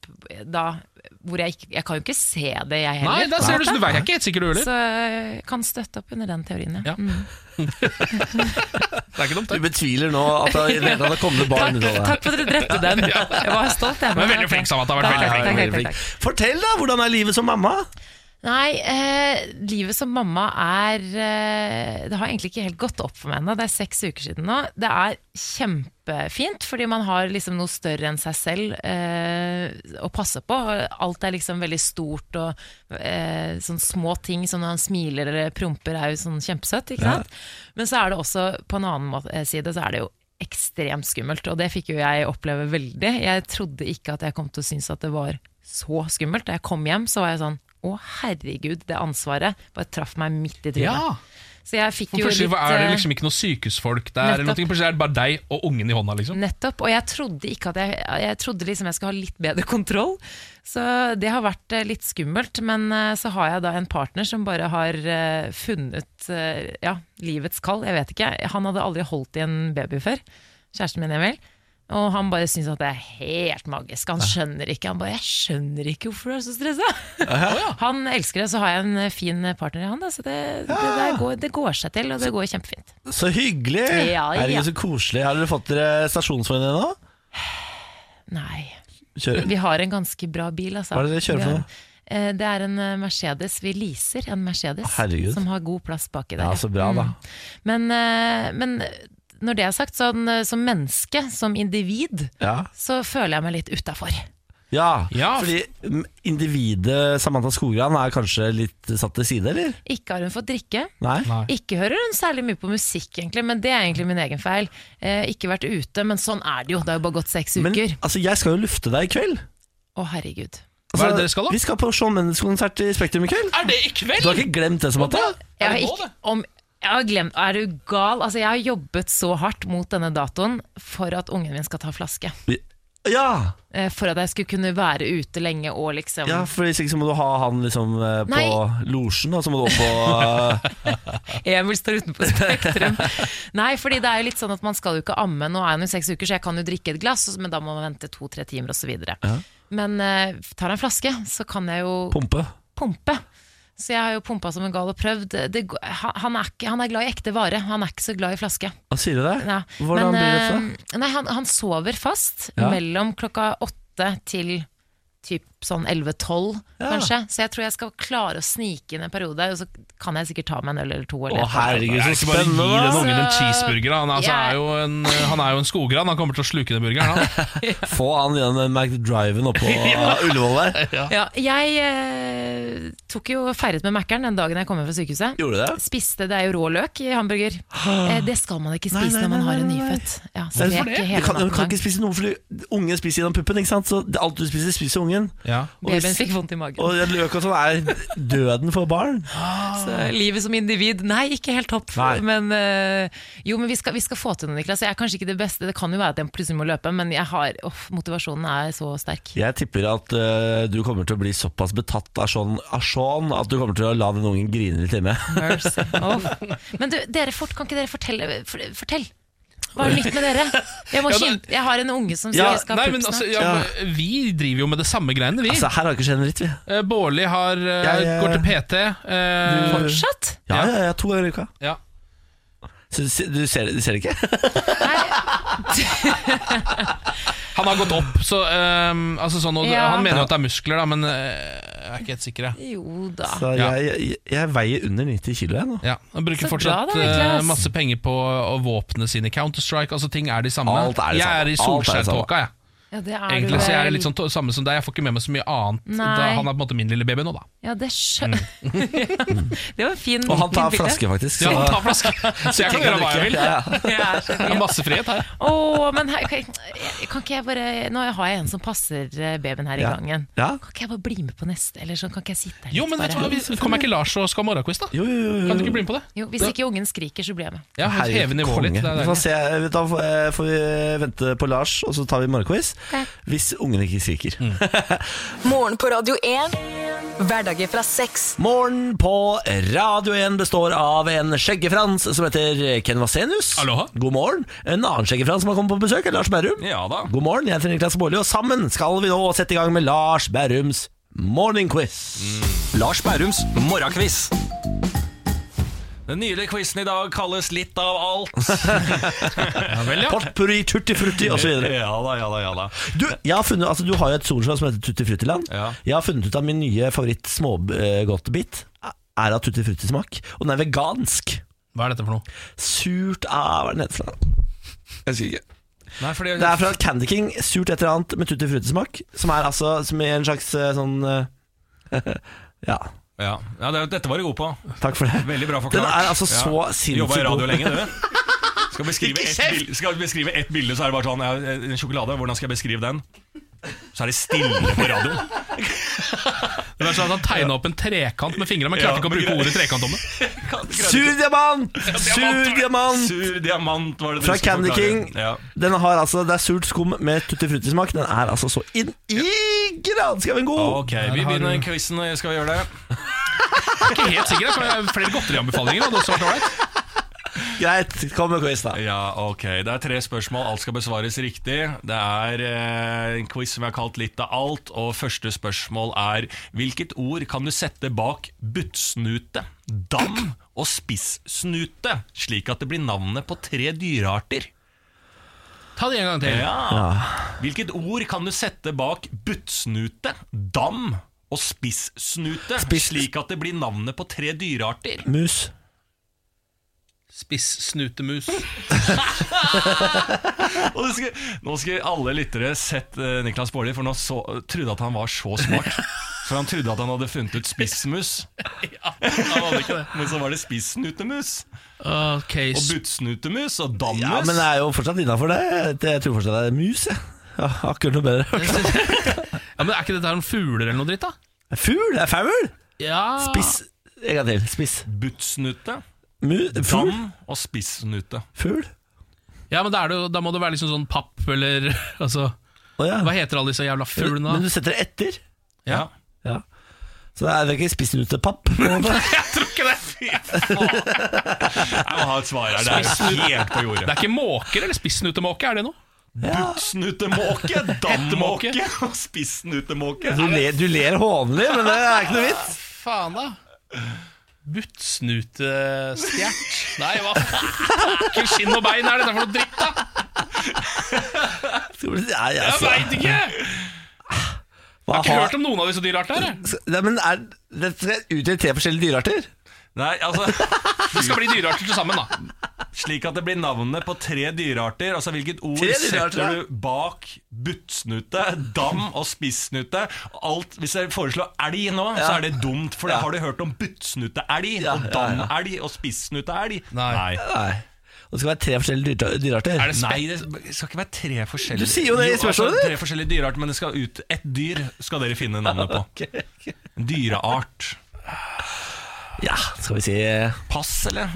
da hvor jeg ikke Jeg kan jo ikke se det, jeg heller.
Nei, der ser du, så du veit ikke helt sikkert du heller.
Så Mm. jeg kan støtte opp under den teorien,
Ja. [LAUGHS] Det er ikke dumt,
Du
det.
betviler nå at det i det hele tatt har kommet barn ut av det.
Takk, takk for at dere drepte
[LAUGHS]
den. Jeg var stolt, jeg.
Du er veldig flink, Samantha. Du er
Takk,
Veldig
takk,
flink.
takk,
Veldig
takk,
flink.
takk.
Fortell, da! Hvordan er livet som mamma?
Nei, eh, livet som mamma er eh, Det har egentlig ikke helt gått opp for meg ennå. Det er seks uker siden nå. Det er kjempefint, fordi man har liksom noe større enn seg selv eh, å passe på. Alt er liksom veldig stort, og eh, sånne små ting som når han smiler eller promper, er jo sånn kjempesøtt. ikke sant? Men så er det også, på en annen måte, eh, side, så er det jo ekstremt skummelt, og det fikk jo jeg oppleve veldig. Jeg trodde ikke at jeg kom til å synes at det var så skummelt. Da jeg kom hjem, så var jeg sånn å, herregud, det ansvaret bare traff meg midt i trynet.
Ja.
Så jeg fikk
For
jo
plutselig
litt
er det
eh,
liksom ikke noen sykehusfolk der, eller
nettopp.
noe, plutselig er det bare deg og ungen i hånda. liksom
Nettopp. Og jeg trodde ikke at jeg Jeg trodde liksom jeg skulle ha litt bedre kontroll. Så det har vært eh, litt skummelt. Men eh, så har jeg da en partner som bare har eh, funnet eh, ja, livets kall. Jeg vet ikke. Han hadde aldri holdt i en baby før. Kjæresten min, Emil. Og han bare syns at det er helt magisk. Han skjønner ikke Han bare, jeg skjønner ikke hvorfor du er så stressa. [LAUGHS] Han elsker det, så har jeg en eh, fin partner i han. Da, så det, det, der går, det går seg til, og det går kjempefint.
Så hyggelig!
Ja, ja.
Herregud, så koselig. Har dere fått dere stasjonsvogn ennå?
Nei.
Kjør.
Vi har en ganske bra bil, altså.
Hva er det dere kjører for
Vi har-
noe?
Eh, Det er en eh, Mercedes. Vi leaser en Mercedes
Herregud.
som har god plass baki der. Mm.
Ja, så bra, da.
Men, eh, men når det er sagt, sånn, eh, som menneske, som individ,
Ja.
så føler jeg meg litt utafor.
ja.
Ja.
Fordi mm, individet Samantha Skogran er kanskje litt satt til side, eller?
Ikke har hun fått drikke.
Nei?
Ikke hører hun særlig mye på musikk, egentlig, men det er egentlig min egen feil. Eh, ikke vært ute, men sånn er det jo. Det har jo bare gått seks
Men
uker.
altså, jeg skal jo lufte deg i kveld.
Å, herregud.
Hva er det dere skal, da?
Vi skal på Shawn Mendes-konsert i Spektrum i kveld.
Er det i kveld?
Du har ikke glemt det, Samantha?
Jeg
Er
har
det nå,
ikke, om, Jeg har glemt, er du gal? Altså, jeg har jobbet så hardt mot denne datoen for at ungen min skal ta flaske.
Ja,
Eh, For at jeg skulle kunne være ute lenge og liksom
ja, for hvis ikke så må du ha han liksom eh, på
Nei.
losjen, og så må du opp på eh,
Emil står utenfor Spektrum. [LAUGHS] Nei, fordi det er jo litt sånn at man skal jo ikke amme. Nå er hun jo seks uker, så jeg kan jo drikke et glass, men da må man vente to-tre timer osv. videre Men eh, tar jeg en flaske, så kan jeg jo
pumpe.
pumpe. Så jeg har jo pumpa som en gal og prøvd. Det, går- han, han er ikke, han er glad i ekte vare, han er ikke så glad i flaske.
Hva sier du der?
Ja.
Hvordan
men,
blir dette?
eh, Nei, han, han sover fast
Ja.
mellom klokka åtte til typ sånn 11-12,
Ja.
kanskje. Så jeg tror jeg skal klare å snike inn en periode, og så kan jeg sikkert ta meg en øl eller to.
Å,
Eller et eller annet.
herregud,
Jeg
så
er ikke bare
spennende!
gi den
da.
ungen en cheeseburger. da. Han, altså,
Ja.
er, jo en, han er jo en skogran. Han kommer til å sluke den burgeren.
[LAUGHS]
Han.
Få han igjen den McDriven [LAUGHS] oppå Ullevål der.
ja, jeg eh, tok jo feiret med Mækkern den dagen jeg kom hjem fra sykehuset.
Gjorde du det?
Spiste det er jo rå løk i hamburger. Eh, det skal man ikke
[GASPS] Nei,
spise
nei,
når man
nei,
har en
nei, nei.
nyfødt. Ja, så det er ikke
Du
hele
kan, du kan
natten
ikke
lang.
spise noe, fordi ungen spiser gjennom puppen. ikke sant? Så det- alt du spiser, spiser ungen.
Ja.
Og hvis-
Babyen fikk vondt i magen.
Og løk og sånn er døden for barn.
Så livet som individ, nei, ikke helt topp.
Nei.
Men eh, jo, men vi skal, vi skal få til noe, Niklas. Jeg er kanskje ikke det beste, det kan jo være at jeg plutselig må løpe, men jeg har, åh, motivasjonen er så sterk.
Jeg tipper at eh, du kommer til å bli såpass betatt av sånn, av sånn at du kommer til å la den ungen grine litt hjemme.
Mercy.
[LAUGHS]
Åh. Men du, dere fort, kan ikke dere fortelle? For, fortell! Hva er nytt med dere? Jeg, må
Ja, da-
kjempe, jeg har en unge som sier
Ja,
jeg skal
Nei,
ha
men
pupp
altså,
snart.
ja, vi driver jo med det samme greiene, vi.
[LAUGHS] Altså, Her har ikke skjedd en dritt, vi.
Eh, Bårli har, eh,
Jeg, eh,
går til PT. eh,
Fortsatt?
Ja, ja, ja, to ganger i uka.
ja.
Så du, ser- du ser, det- du ser det ikke?
Han har gått opp, så eh, altså, sånn, og,
Ja.
Han mener jo at det er muskler, da, men eh, jeg er ikke helt sikker. jeg.
Jo da.
Så
Ja.
jeg, jeg, jeg veier under 90 kilo jeg nå.
Ja, Han bruker
Så
fortsatt
bra da, Niklas.
eh, masse penger på å våpne sine. Counter-Strike, altså ting er de samme.
Alt er det
jeg er
samme. Alt er det
i
samme.
Solskjær-tåka, jeg.
Ja, det er
Egentlig så jeg er
vel.
litt sånn to- samme som deg. Jeg får ikke med meg så mye annet.
Nei.
Da, han er på en måte min lille baby nå, da.
Ja, det skjønner
Mm.
[LAUGHS] Det var en fin
Og han tar
fin bilde.
flaske, faktisk.
Ja,
så-
ta
[LAUGHS]
flaske. Så jeg kan gjøre hva jeg vil.
Ja, ja.
[LAUGHS] Ja, så
Det er masse frihet her.
Åh, men her, kan, jeg- kan ikke jeg bare Nå har jeg en som passer eh, babyen her i
Ja.
gangen.
Ja.
Kan ikke jeg bare bli med på neste? Eller sånn, kan ikke jeg sitte her
Jo,
litt
men vet du hva,
bare?
vi- Kommer ikke Lars og skal ha morgenquiz, da?
Jo, jo, jo, jo.
Kan du ikke bli med på det?
Jo, hvis ikke ungen skriker, så blir jeg med.
Ja, Heve nivået litt. Det
Vi
er
får
deilig.
se, da får eh, får vi vente på Lars, og så tar vi morgenquiz. Hvis ungen ikke skriker.
Mm.
Morgen på Radio 1. Hverdager fra seks.
[LAUGHS] Morgen på Radio 1 består av en skjeggefrans som heter Ken Vasenius.
Aloha.
God morgen. En annen skjeggefrans som har kommet på besøk, er Lars Berrum.
Ja da.
God morgen, jeg heter Niklas Baarli, og sammen skal vi nå sette i gang med Lars Berrums morgenquiz.
Mm.
Lars Bærums morgenquiz. Den nylige quizen i dag kalles litt av
[LAUGHS]
alt.
Ja, vel, ja.
Potpurri, tutti frutti osv.
Ja da, ja da, ja da.
Du, jeg har funnet, altså, du har jo et solslag som heter Tutti Fruttiland.
Ja.
Jeg har funnet ut av min nye favoritt smågodtebit. Er av Tutti Frutti-smak. Og den er vegansk.
Hva er dette for noe?
Surt ah, Hva er den heter for noe?
Jeg sier ikke.
Nei, fordi,
Det er fra Candy King. Surt et eller annet med Tutti Frutti-smak. Som er altså som er en slags eh, sånn eh, [LAUGHS] Ja,
Ja, ja det, dette var du god på.
takk for det.
Veldig bra forklart.
Den er altså
Ja.
så
Jobba i
sinnssykt
radio
god.
lenge, du. [LAUGHS] Skal beskrive, ett bilde, skal beskrive ett bilde, så er det bare sånn ja, En sjokolade, hvordan skal jeg beskrive den? Så er det stille på radioen.
det er sånn at Han tegna opp en trekant med fingrene, men klarte
Ja,
ikke å bruke
men-
ordet trekant om det.
Sur diamant! Sur diamant!
Sur diamant var det du
Fra
skulle
Candy
forklare.
King.
Ja.
Den har altså, Det er surt skum med tutti frutti-smak. Den er altså så inn i granskauen god!
Ok, vi
har
begynner
du-
quizen. Skal vi gjøre
[LAUGHS]
det?
Jeg er ikke helt sikker, jeg kan jeg Flere godterianbefalinger hadde også vært ålreit.
Greit, kom med quiz, da.
Ja, ok. Det er tre spørsmål. Alt skal besvares riktig. Det er eh, en quiz som jeg har kalt Litt av alt. Og første spørsmål er Hvilket ord kan du sette bak buttsnute, dam og spissnute, slik at det blir navnet på tre dyrearter?
Ta det en gang til.
Ja. Hvilket ord kan du sette bak buttsnute, dam og spissnute,
Spiss-
slik at det blir navnet på tre dyrearter?
Mus.
Spissnutemus.
[LAUGHS] Og det skulle, nå skulle alle lyttere sett eh, Niklas Baarli, for nå så, trodde at han var så smart. For han trodde at han hadde funnet ut spissmus,
[LAUGHS] Han hadde ikke det.
men så var det spissnutemus.
Ok,
Og
sp-
buttsnutemus og
Ja,
dammus.
men det er jo fortsatt innafor det. Jeg tror fortsatt det er mus. jeg. Ja, akkurat noe bedre.
ja, men Er ikke dette her noen fugler eller noe dritt, da?
Fugl? Det er faul!
Ja
Spiss. En gang til. Spiss.
Buttsnute,
fugl?
Dam og spissnute.
Fugl?
Ja, men da, er det, jo- da må det være liksom sånn papp eller [LAUGHS] altså, Hva heter alle disse jævla fuglene da?
Men du setter det etter?
Ja.
Ja. Så det er det er ikke spissnutepapp? på en måte?
Jeg tror ikke det! Fy faen! Jeg må ha et svar her. Det er helt
Spissnute.
på
Det er
jordet.
ikke måker eller spissnutemåke, er det noe?
Buttsnutemåke, dammåke og spissnutemåke.
[LAUGHS]
Du ler, du ler hånlig, men det er ikke noe vits.
Faen, da. Buttsnutestjert. Nei, hva faen? Skinn og bein er dette for noe dritt, da?
Skal vi- Nei,
Jeg
altså,
veit ikke! Jeg
hva
har ikke hørt
har
om noen av disse dyreartene. her, jeg.
Nei, men er, det skal ut i tre forskjellige dyrearter?
Nei, altså
Det skal bli dyrearter til sammen, da.
Slik at det blir navnet på tre dyrearter. Altså hvilket ord
Tre dyrearter,
setter
ja.
du bak buttsnute, dam og spissnute? Alt, hvis jeg foreslår elg nå, så
Ja.
er det dumt, for da har du hørt om buttsnuteelg
Ja,
og
ja, ja.
damelg og spissnuteelg.
Nei.
Nei. Og det skal være tre forskjellige dyre-
Er
dyrearter.
det
Nei,
spett?
det skal ikke være tre forskjellige
Du sier jo det i spørsmålet
altså,
ditt.
Tre forskjellige dyrearter, men det skal ut ett dyr skal dere finne navnet på. En Dyreart.
[LAUGHS] Ja, skal vi si eh,
Pass, eller?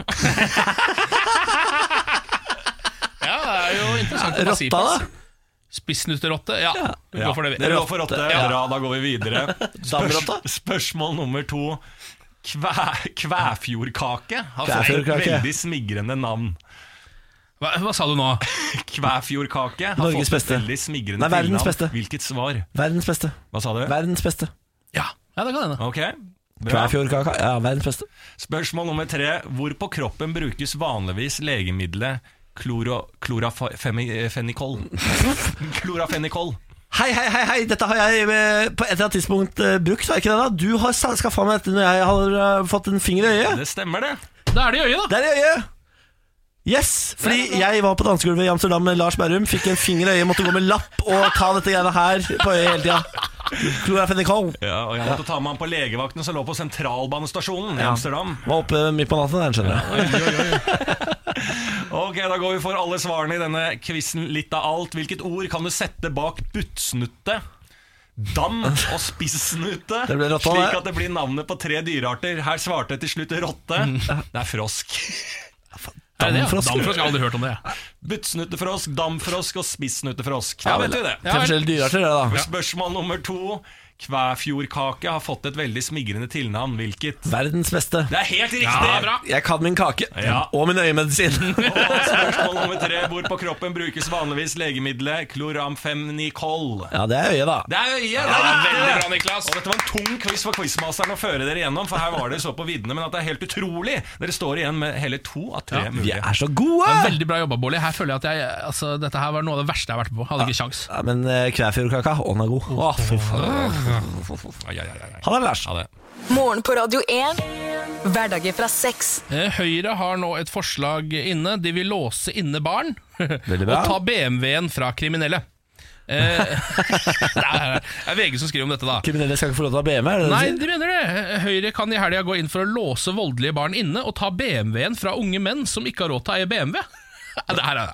Ja, det er jo interessant. å bare si
rotta,
på,
da?
altså. Spissnuterotte? Ja, vi går for det.
Dere eh,
vi.
går for åtte. Bra, da går vi videre.
Damerotta?
spørsmål nummer to. Kvæ, kvæfjordkake har fått et
Kvæfjordkake.
veldig smigrende navn.
Hva, hva sa du nå?
Kvæfjordkake har
Norges
fått
beste.
et veldig smigrende
Nei, verdens
tilnavn.
beste.
Hvilket svar?
Verdens beste.
Hva sa du?
Verdens beste.
Ja, ja det kan hende.
Ok, bra.
Kvæfjordkaka. Ja, verdens beste.
Spørsmål nummer tre. Hvor på kroppen brukes vanligvis legemiddelet kloro,
[LAUGHS]
klorafenikol? klorafenikol.
Hei, hei, hei, hei, dette har jeg eh, på et eller annet tidspunkt eh, brukt, har jeg ikke det da? Du har sa- skaffa meg dette når jeg har eh, fått en finger i øyet.
Det stemmer, det.
Da er det i øyet, da.
Der i øyet! Yes! Fordi jeg var på dansegulvet i Amsterdam med Lars Berrum, fikk en finger i øyet, måtte gå med lapp og ta dette greiene her på øyet hele tida. Klorafenikol.
Ja, og jeg måtte ta med han på legevakten som lå på sentralbanestasjonen i Amsterdam.
Var oppe midt på natten, der, skjønner jeg.
Ok, da går vi for alle svarene i denne quizen litt av alt. Hvilket ord kan du sette bak buttsnutte? Dam og spissnute,
Det ble rotta,
slik
det.
at det blir navnet på tre dyrearter. Her svarte til slutt rotte. Det er frosk.
Er det det?
Damfrosk.
Damfrosk. Jeg har aldri hørt om det. jeg.
Buttsnuttefrosk, damfrosk og spissnuttefrosk. Da vet vi det.
Tre forskjellige dyrearter, det, da.
Spørsmål nummer to. Kvæfjordkake har fått et veldig smigrende tilnavn. Hvilket?
Verdens beste.
Det er helt riktig!
Ja, bra.
Jeg kan min kake.
Ja.
Og min øyemedisin.
Og spørsmål nummer tre. Hvor på kroppen brukes vanligvis legemiddelet kloramfemnikol?
Ja, det er øyet, da.
Det er øyet!
Ja, det er veldig
det.
bra, Niklas.
Og dette var en tung quiz for quizmasteren å føre dere gjennom, for her var dere så på viddene, men at det er helt utrolig. Dere står igjen med hele to av tre
Vi
mulige.
er så gode!
Veldig bra jobba, Bårli. Her føler jeg at jeg, altså, dette her var noe av det verste jeg har vært med på. Hadde ikke kjangs.
Ja, men eh, Kvæfjordkaka, å, den er god. Å, fy faen.
Ai, ai, ai, ai.
Ha det, Lars.
Ha det.
Morgen på Radio 1. Hverdager fra seks.
Eh, Høyre har nå et forslag inne. De vil låse inne barn og
bra.
ta BMW-en fra kriminelle. Eh, [LAUGHS] det er det er VG som skriver om dette, da.
Kriminelle skal ikke få lov til å ha BM, er det
Nei,
det du sier?
de mener det. Høyre kan i helga gå inn for å låse voldelige barn inne og ta BMW-en fra unge menn som ikke har råd til å eie BMW. [LAUGHS] Ja, Det her er,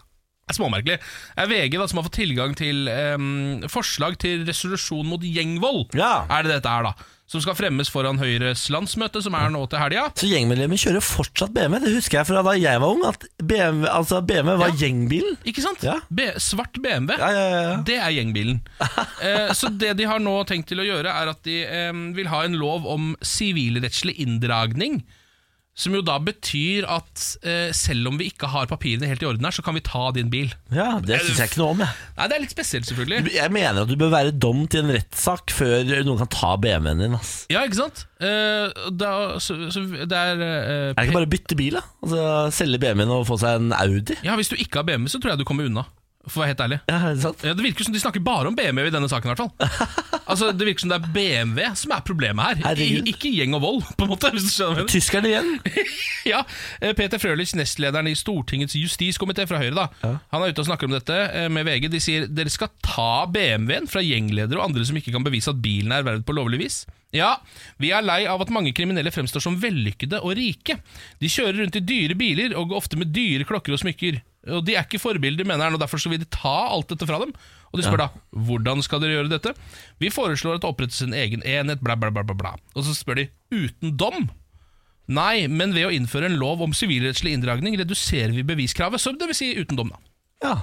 er småmerkelig. Det er VG da, som har fått tilgang til em, forslag til resolusjon mot gjengvold,
Ja.
er det dette her, da. Som skal fremmes foran Høyres landsmøte, som er nå til helga.
Så gjengmedlemmer kjører fortsatt BMW. Det husker jeg fra da jeg var ung, at BMW, altså BMW var gjengbilen.
Ikke sant?
Ja.
B svart BMW.
Ja, ja, ja, ja.
Det er
[LAUGHS]
gjengbilen. Eh, så det de har nå tenkt til å gjøre, er at de eh, vil ha en lov om sivilrettslig inndragning. Som jo da betyr at eh, selv om vi ikke har papirene helt i orden her, så kan vi ta din bil.
Ja, Det syns jeg ikke noe om, jeg.
Nei, det er litt spesielt, selvfølgelig.
Jeg mener at du bør være dom til en rettssak før noen kan ta BMW-en din. ass
Ja, ikke sant? Eh, da, så, så det er eh,
Er det ikke bare å bytte bil, da? Altså Selge BMW-en og få seg en Audi?
Ja, Hvis du ikke har BMW, så tror jeg du kommer unna. For å være helt ærlig.
Ja, er det sant?
Ja, det virker som de snakker bare om BMW i denne saken. i hvert fall
[LAUGHS]
Altså, Det virker som det er BMW som er problemet her. I,
Herregud.
ikke gjeng og vold, på en måte. hvis du skjønner hva jeg mener.
Tyskerne igjen?
[LAUGHS] Ja, eh, Peter Frølich, nestlederen i Stortingets justiskomité fra Høyre, da Han er ute og snakker om dette eh, med VG. De sier dere skal ta BMW-en fra gjengledere og andre som ikke kan bevise at bilen er ervervet på lovlig vis. Ja, vi er lei av at mange kriminelle fremstår som vellykkede og rike. De kjører rundt i dyre biler og går ofte med dyre klokker og smykker. Og De er ikke forbilder, mener han, og derfor så vil de ta alt dette fra dem. Og de spør da hvordan skal dere gjøre dette. Vi foreslår at det opprettes en egen enhet, bla, bla, bla. bla, bla. Og så spør de uten dom. Nei, men ved å innføre en lov om sivilrettslig inndragning reduserer vi beviskravet, så det vil si uten dom, da.
Ja.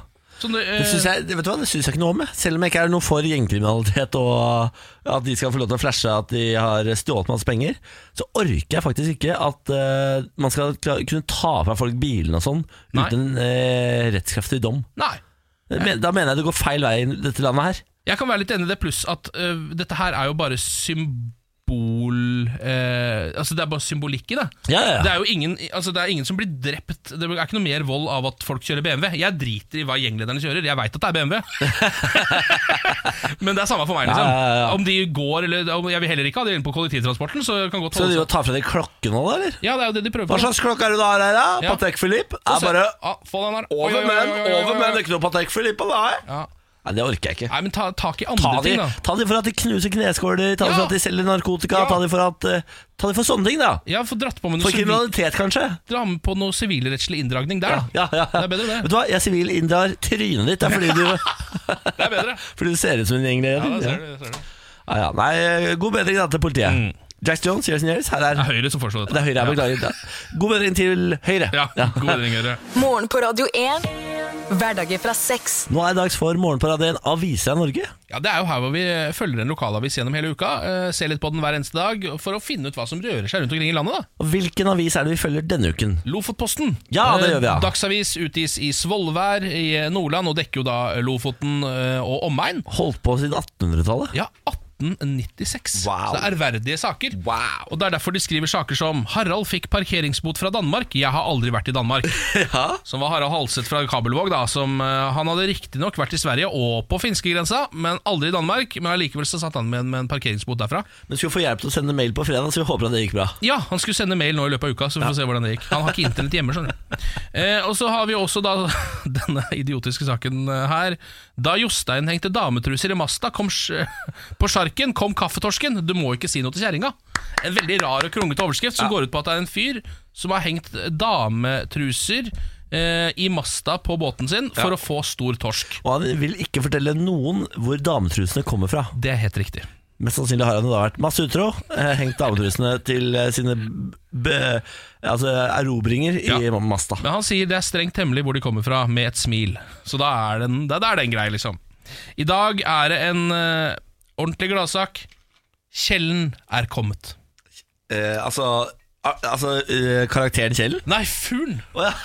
Så det, eh,
Det syns jeg, det- vet du hva, det synes jeg ikke noe om, jeg. selv om jeg ikke er noe for gjengkriminalitet og eh, at de skal få lov til å flashe at de har stjålet manns penger, så orker jeg faktisk ikke at eh, man skal kla- kunne ta fra folk bilene og sånn
Nei.
uten eh, rettskraftig dom.
Nei.
Det men- Da mener jeg det går feil vei i dette landet her.
Jeg kan være litt enig i det, pluss at øh, dette her er jo bare symbol øh, Altså, det er bare symbolikk i det.
Ja, ja, ja.
Det er jo ingen, altså, det er ingen som blir drept. Det er ikke noe mer vold av at folk kjører BMW. Jeg driter i hva gjenglederne kjører, jeg veit at det er BMW. [LAUGHS] Men det er samme for meg, liksom.
Ja, ja, ja.
Om de går eller om Jeg vil heller ikke ha de inne på kollektivtransporten, så kan godt
Skal de
holde
jo ta fra deg klokken nå, da, eller?
Ja, det er jo det de prøver
Hva
på.
slags klokke er det du har her, da?
Ja.
Patek Philippe?
Få
Er
se.
bare
ah, Få den her. Oi,
over
oi, oi,
menn,
oi, oi, oi.
over menn. Det er ikke noe Patek Philippe, nei.
Ja.
Nei, det orker jeg ikke.
Nei, men ta tak i
Ta
andre
de,
ting, da.
ta de for at de knuser kneskåler, ta de for
Ja.
at de selger narkotika,
Ja.
ta de for at eh, Ta de for sånne ting, da.
Ja, få dratt på med noe
For
sivil-
kriminalitet, kanskje.
dra med på noe sivilrettslig inndragning der.
Ja, ja, ja.
Det er bedre,
Vet
det.
du hva, jeg sivilinndrar trynet ditt. Det er fordi du,
[LAUGHS] Det er bedre.
fordi du ser ut som en
Ja,
gjengleder.
det
Ja,
ser du, det ser du.
ja, ja. Nei, eh, god bedring da til politiet.
Mm.
Jack Jones, yes and yes. Her er
Det er Høyre som foreslår dette.
Det er Høyre, jeg beklager. Ja. God bedring til Høyre.
Ja, [LAUGHS] ja. god bedring, Høyre.
Morgen på Radio 1. Hverdager fra seks.
Nå er det dags for Morgenparadien Aviser av Norge.
Ja, Det er jo her hvor vi eh, følger en lokalavis gjennom hele uka. eh, Ser litt på den hver eneste dag for å finne ut hva som rører seg rundt omkring i landet. da
Og Hvilken avis er det vi følger denne uken?
Lofotposten.
Ja, det
Eh,
gjør vi, ja.
Dagsavis utgis i Svolvær i eh, Nordland og dekker jo da Lofoten eh, og omegn.
Holdt på siden 1800-tallet?
Ja, 1896.
Wow.
Så det er ærverdige saker.
Wow.
Og Det er derfor de skriver saker som 'Harald fikk parkeringsbot fra Danmark', 'Jeg har aldri vært i
[LAUGHS]
Danmark'. Som var Harald Halseth fra Kabelvåg. da som, eh, Han hadde riktignok vært i Sverige og på finskegrensa, men aldri i Danmark. Men allikevel så satt han med en, med en parkeringsbot derfra.
Men skulle få hjelp til å sende mail på fredag, så vi håper at det gikk bra.
Ja, han skulle sende mail nå i løpet av uka, så vi får se hvordan det gikk. Han har ikke internett hjemme, skjønner du. Eh, og så har vi også da [LAUGHS] denne idiotiske saken eh, her. Da Jostein hengte dametruser i masta kom sj- [LAUGHS] på sjarken, kom kaffetorsken. Du må ikke si noe til kjerringa. En veldig rar og krongete overskrift som går ut på at det er en fyr som har hengt dametruser eh, i masta på båten sin for å få stor torsk.
Og han vil ikke fortelle noen hvor dametrusene kommer fra.
Det er helt riktig.
Mest sannsynlig har han da vært masse utro, eh, hengt dametrusene til eh, sine b altså erobringer i
Ja.
masta.
Men han sier det er strengt hemmelig hvor de kommer fra, med et smil. Så da er den, da, da er den grei, liksom. I dag er det en eh, ordentlig gladsak. Kjellen er kommet.
Eh, altså a- altså eh, karakteren Kjell?
Nei, fuglen! [LAUGHS]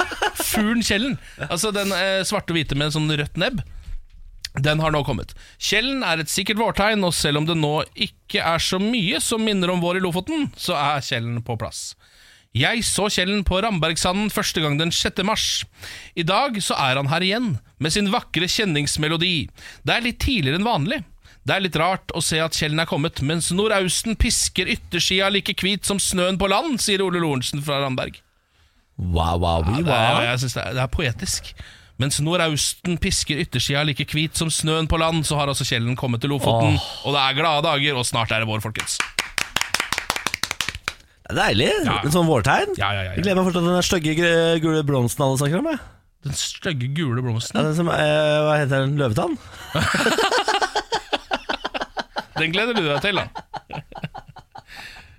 Fuglen Kjellen. Altså den eh, svarte og hvite med en sånn rødt nebb. Den har nå kommet. Kjellen er et sikkert vårtegn, og selv om det nå ikke er så mye som minner om vår i Lofoten, så er Kjellen på plass. Jeg så Kjellen på Rambergsanden første gang den 6. mars. I dag så er han her igjen, med sin vakre kjenningsmelodi. Det er litt tidligere enn vanlig. Det er litt rart å se at Kjellen er kommet, mens nordausten pisker yttersida like hvit som snøen på land, sier Ole Lorentzen fra Ramberg.
Wow, wow, wow.
Det er, jeg synes det, er, det er poetisk. Mens nordausten pisker yttersida like hvit som snøen på land, så har altså Kjellen kommet til Lofoten. Og det er glade dager, og snart er det vår, folkens.
Det er Deilig.
Ja.
En sånn vårtegn.
Ja, ja, Mm. ja, ja.
Jeg gleder meg fortsatt til den der stygge gr- gule blomsten alle snakker om. Jeg.
Den stygge gule
Ja,
blomsten.
den som, eh, hva heter den? Løvetann?
Den gleder du deg til, da.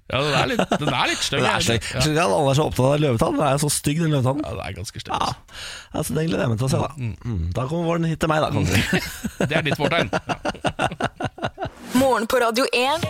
Ja, den er litt, den er litt stygg.
Den er stygg.
Ja,
Jeg skjønner ikke at alle er så opptatt av løvetann. Den er jo så stygg, den løvetannen.
den er ganske stygg.
Ja,
altså.
altså Den gleder jeg meg til å se. Da mm. Da kommer våren hit til meg, da. kan du si.
Det er ditt fortegn. Ja.
Morgen på Radio 1.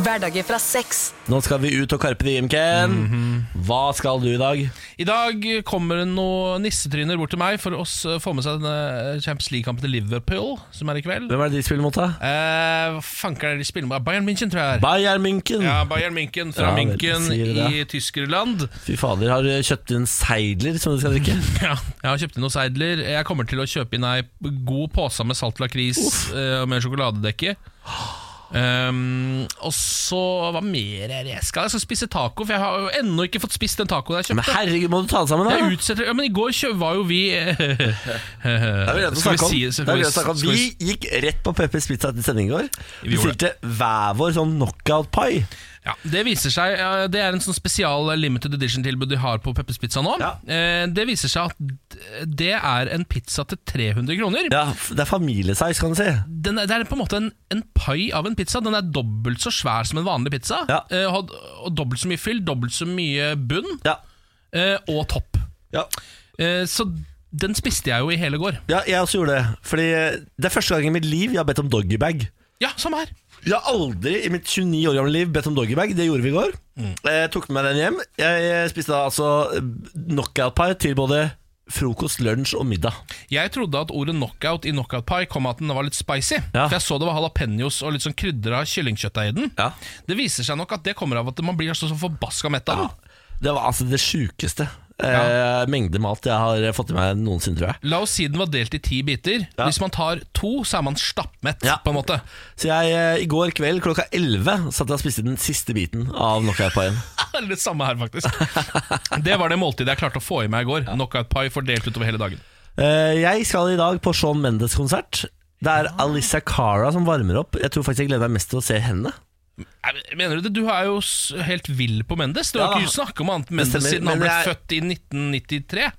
Hverdager fra seks.
Nå skal vi ut og karpe det, Jim Ken.
Mhm.
Hva skal du i dag?
I dag kommer det noen nissetryner bort til meg for å få med seg denne eh, Champions League-kampen til Liverpool, som er i kveld.
Hvem er det de spiller mot, da?
Eh, hva fanker er det de spiller med? Bayern München, tror jeg. det er.
Bayern München.
Ja, Bayern München fra
Ja, vel,
München
sier du det.
i Tyskerland.
Fy fader, har du kjøpt inn Seidler som du skal drikke?
[LAUGHS] Ja, jeg har kjøpt inn noen seidler. Jeg kommer til å kjøpe inn ei god pose med salt lakris eh, med sjokoladedekke. Um, og så hva mer er det jeg skal? Jeg skal spise taco, for jeg har jo ennå ikke fått spist den tacoen jeg
Men
kjøpte.
herregud, må du ta det sammen, da?
Jeg utsetter, ja, men I går kjø- var jo vi [LAUGHS]
Det er jo greit å
Skal vi
snakke om.
si det?
Det
Skal
er
vi-
greit å snakke om.
skal
Vi
vi-
gikk rett på Peppers Pizza til sending i går. Vi
gjorde
stilte hver vår sånn knockout-pai.
Ja, Det viser seg, ja, det er en sånn spesial limited edition-tilbud de har på Peppers Pizza nå. Eh, Det viser seg at d- det er en pizza til 300 kroner.
Ja, Det er familiesize, kan du si.
Den er, det er på en måte en, en pai av en pizza. Den er dobbelt så svær som en vanlig pizza. Eh, og, og dobbelt så mye fyll, dobbelt så mye bunn. Eh, og topp. Eh, så den spiste jeg jo i hele går.
Ja, jeg også gjorde det. Fordi eh, det er første gang i mitt liv jeg har bedt om doggybag.
Ja, som her.
Jeg har aldri i mitt 29 år gamle liv bedt om doggybag. Det gjorde vi i går. Jeg tok med meg den hjem. Jeg jeg spiste da altså knockout-pai til både frokost, lunsj og middag.
Jeg trodde at ordet knockout i knockout pie kom av at den var litt spicy. For jeg så det var jalapeños og litt sånn krydder av kyllingkjøttdeig i den. Det viser seg nok at det kommer av at man blir altså så forbaska mett av den.
Det var altså det sjukeste eh, mengde mat jeg har fått i meg noensinne, tror jeg.
La oss si den var delt i ti biter. Hvis man tar to, så er man stappmett. på en måte [LAUGHS]
Så jeg, eh, i går kveld klokka 11 satt jeg og spiste den siste biten av knockout-paien.
Det er det samme her,
[LAUGHS]
faktisk. Det var det måltidet jeg klarte å få i meg i går. Knockout pie fordelt utover hele dagen.
Eh, jeg skal i dag på Shawn Mendes-konsert. Det er Alisa Cara som varmer opp. Jeg tror faktisk jeg gleder meg mest til å se henne.
Nei, men Mener du det? Du er jo s- helt vill på Mendes. Du har
Ja.
ikke snakket om annet enn
Det
Mendes
stemmer,
siden han
men
ble
jeg-
født i 1993.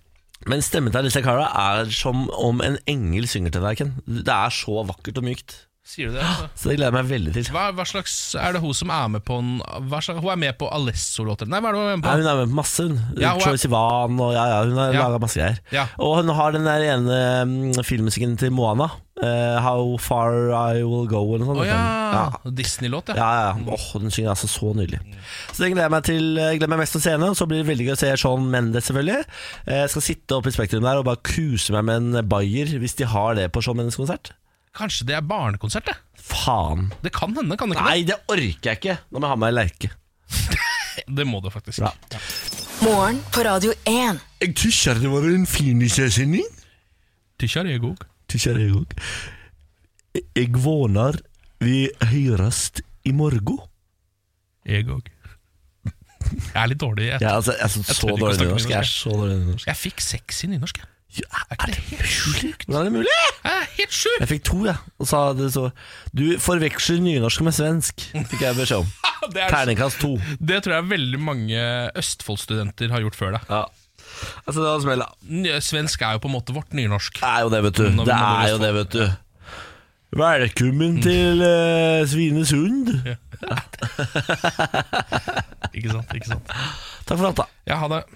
Men stemmen til Alisa Cara er som om en engel synger til deg, Ken. Det er så vakkert og mykt.
Sier du det? altså?
Så det gleder jeg meg veldig til.
Hva, hva slags Er det hun som er med på en, hva slags, Hun er med på Alesso-låter? Nei, hva er det hun er med
Nei,
på?
hun er med på masse, hun.
Ja, hun er-
Troye Sivan og ja, ja, hun har
Ja.
laga masse greier.
Ja.
Og hun har den der ene mm, filmmusikken til Moana. eh, How Far I Will Go eller noe sånt.
Å ja.
Ja.
Disney-låt, ja.
Ja, ja. Åh, den synger altså så nydelig. Så det gleder jeg meg til jeg gleder meg mest til å se henne. og Så blir det veldig gøy å se Sean Mendes, selvfølgelig. Eh, Jeg skal sitte oppe i Spektrum der og bare kuse meg med en bayer hvis de har det på Sean Mendes-konsert.
Kanskje det er barnekonsert, det?
Faen.
Det kan hende, kan det ikke?
Nei, det orker jeg ikke. Nå må jeg ha med meg lerke.
det? Det må det faktisk.
Morgen på Radio 1.
Jeg tykker det var en fin sending.
Tykker jeg òg.
Tykker jeg òg. Jeg vånar vi høyres i morgen.
Jeg òg. Jeg er litt dårlig. Jeg,
Jeg er altså, jeg er så,
jeg
så
tør ikke å
dårlig
snakke
nynorsk. Jeg er så dårlig nynorsk.
Jeg fikk seks i nynorsk. jeg. Er ikke det helt sjukt?
Hvordan er det mulig?
Jeg er helt sjukt!
Jeg fikk to, jeg. Og sa det så Du forveksler nynorsk med svensk, fikk jeg beskjed om.
Det [LAUGHS] er-
Terningkast to.
Det tror jeg veldig mange Østfold-studenter har gjort før deg.
Altså, det var smella.
Nye- Svensk er jo på en måte vårt nynorsk.
Det er jo det, vet du. Det er jo det, vet du. Velkommen til eh, Svinesund.
Ikke sant? ikke sant
Takk for alt, da.
Ja, ha det.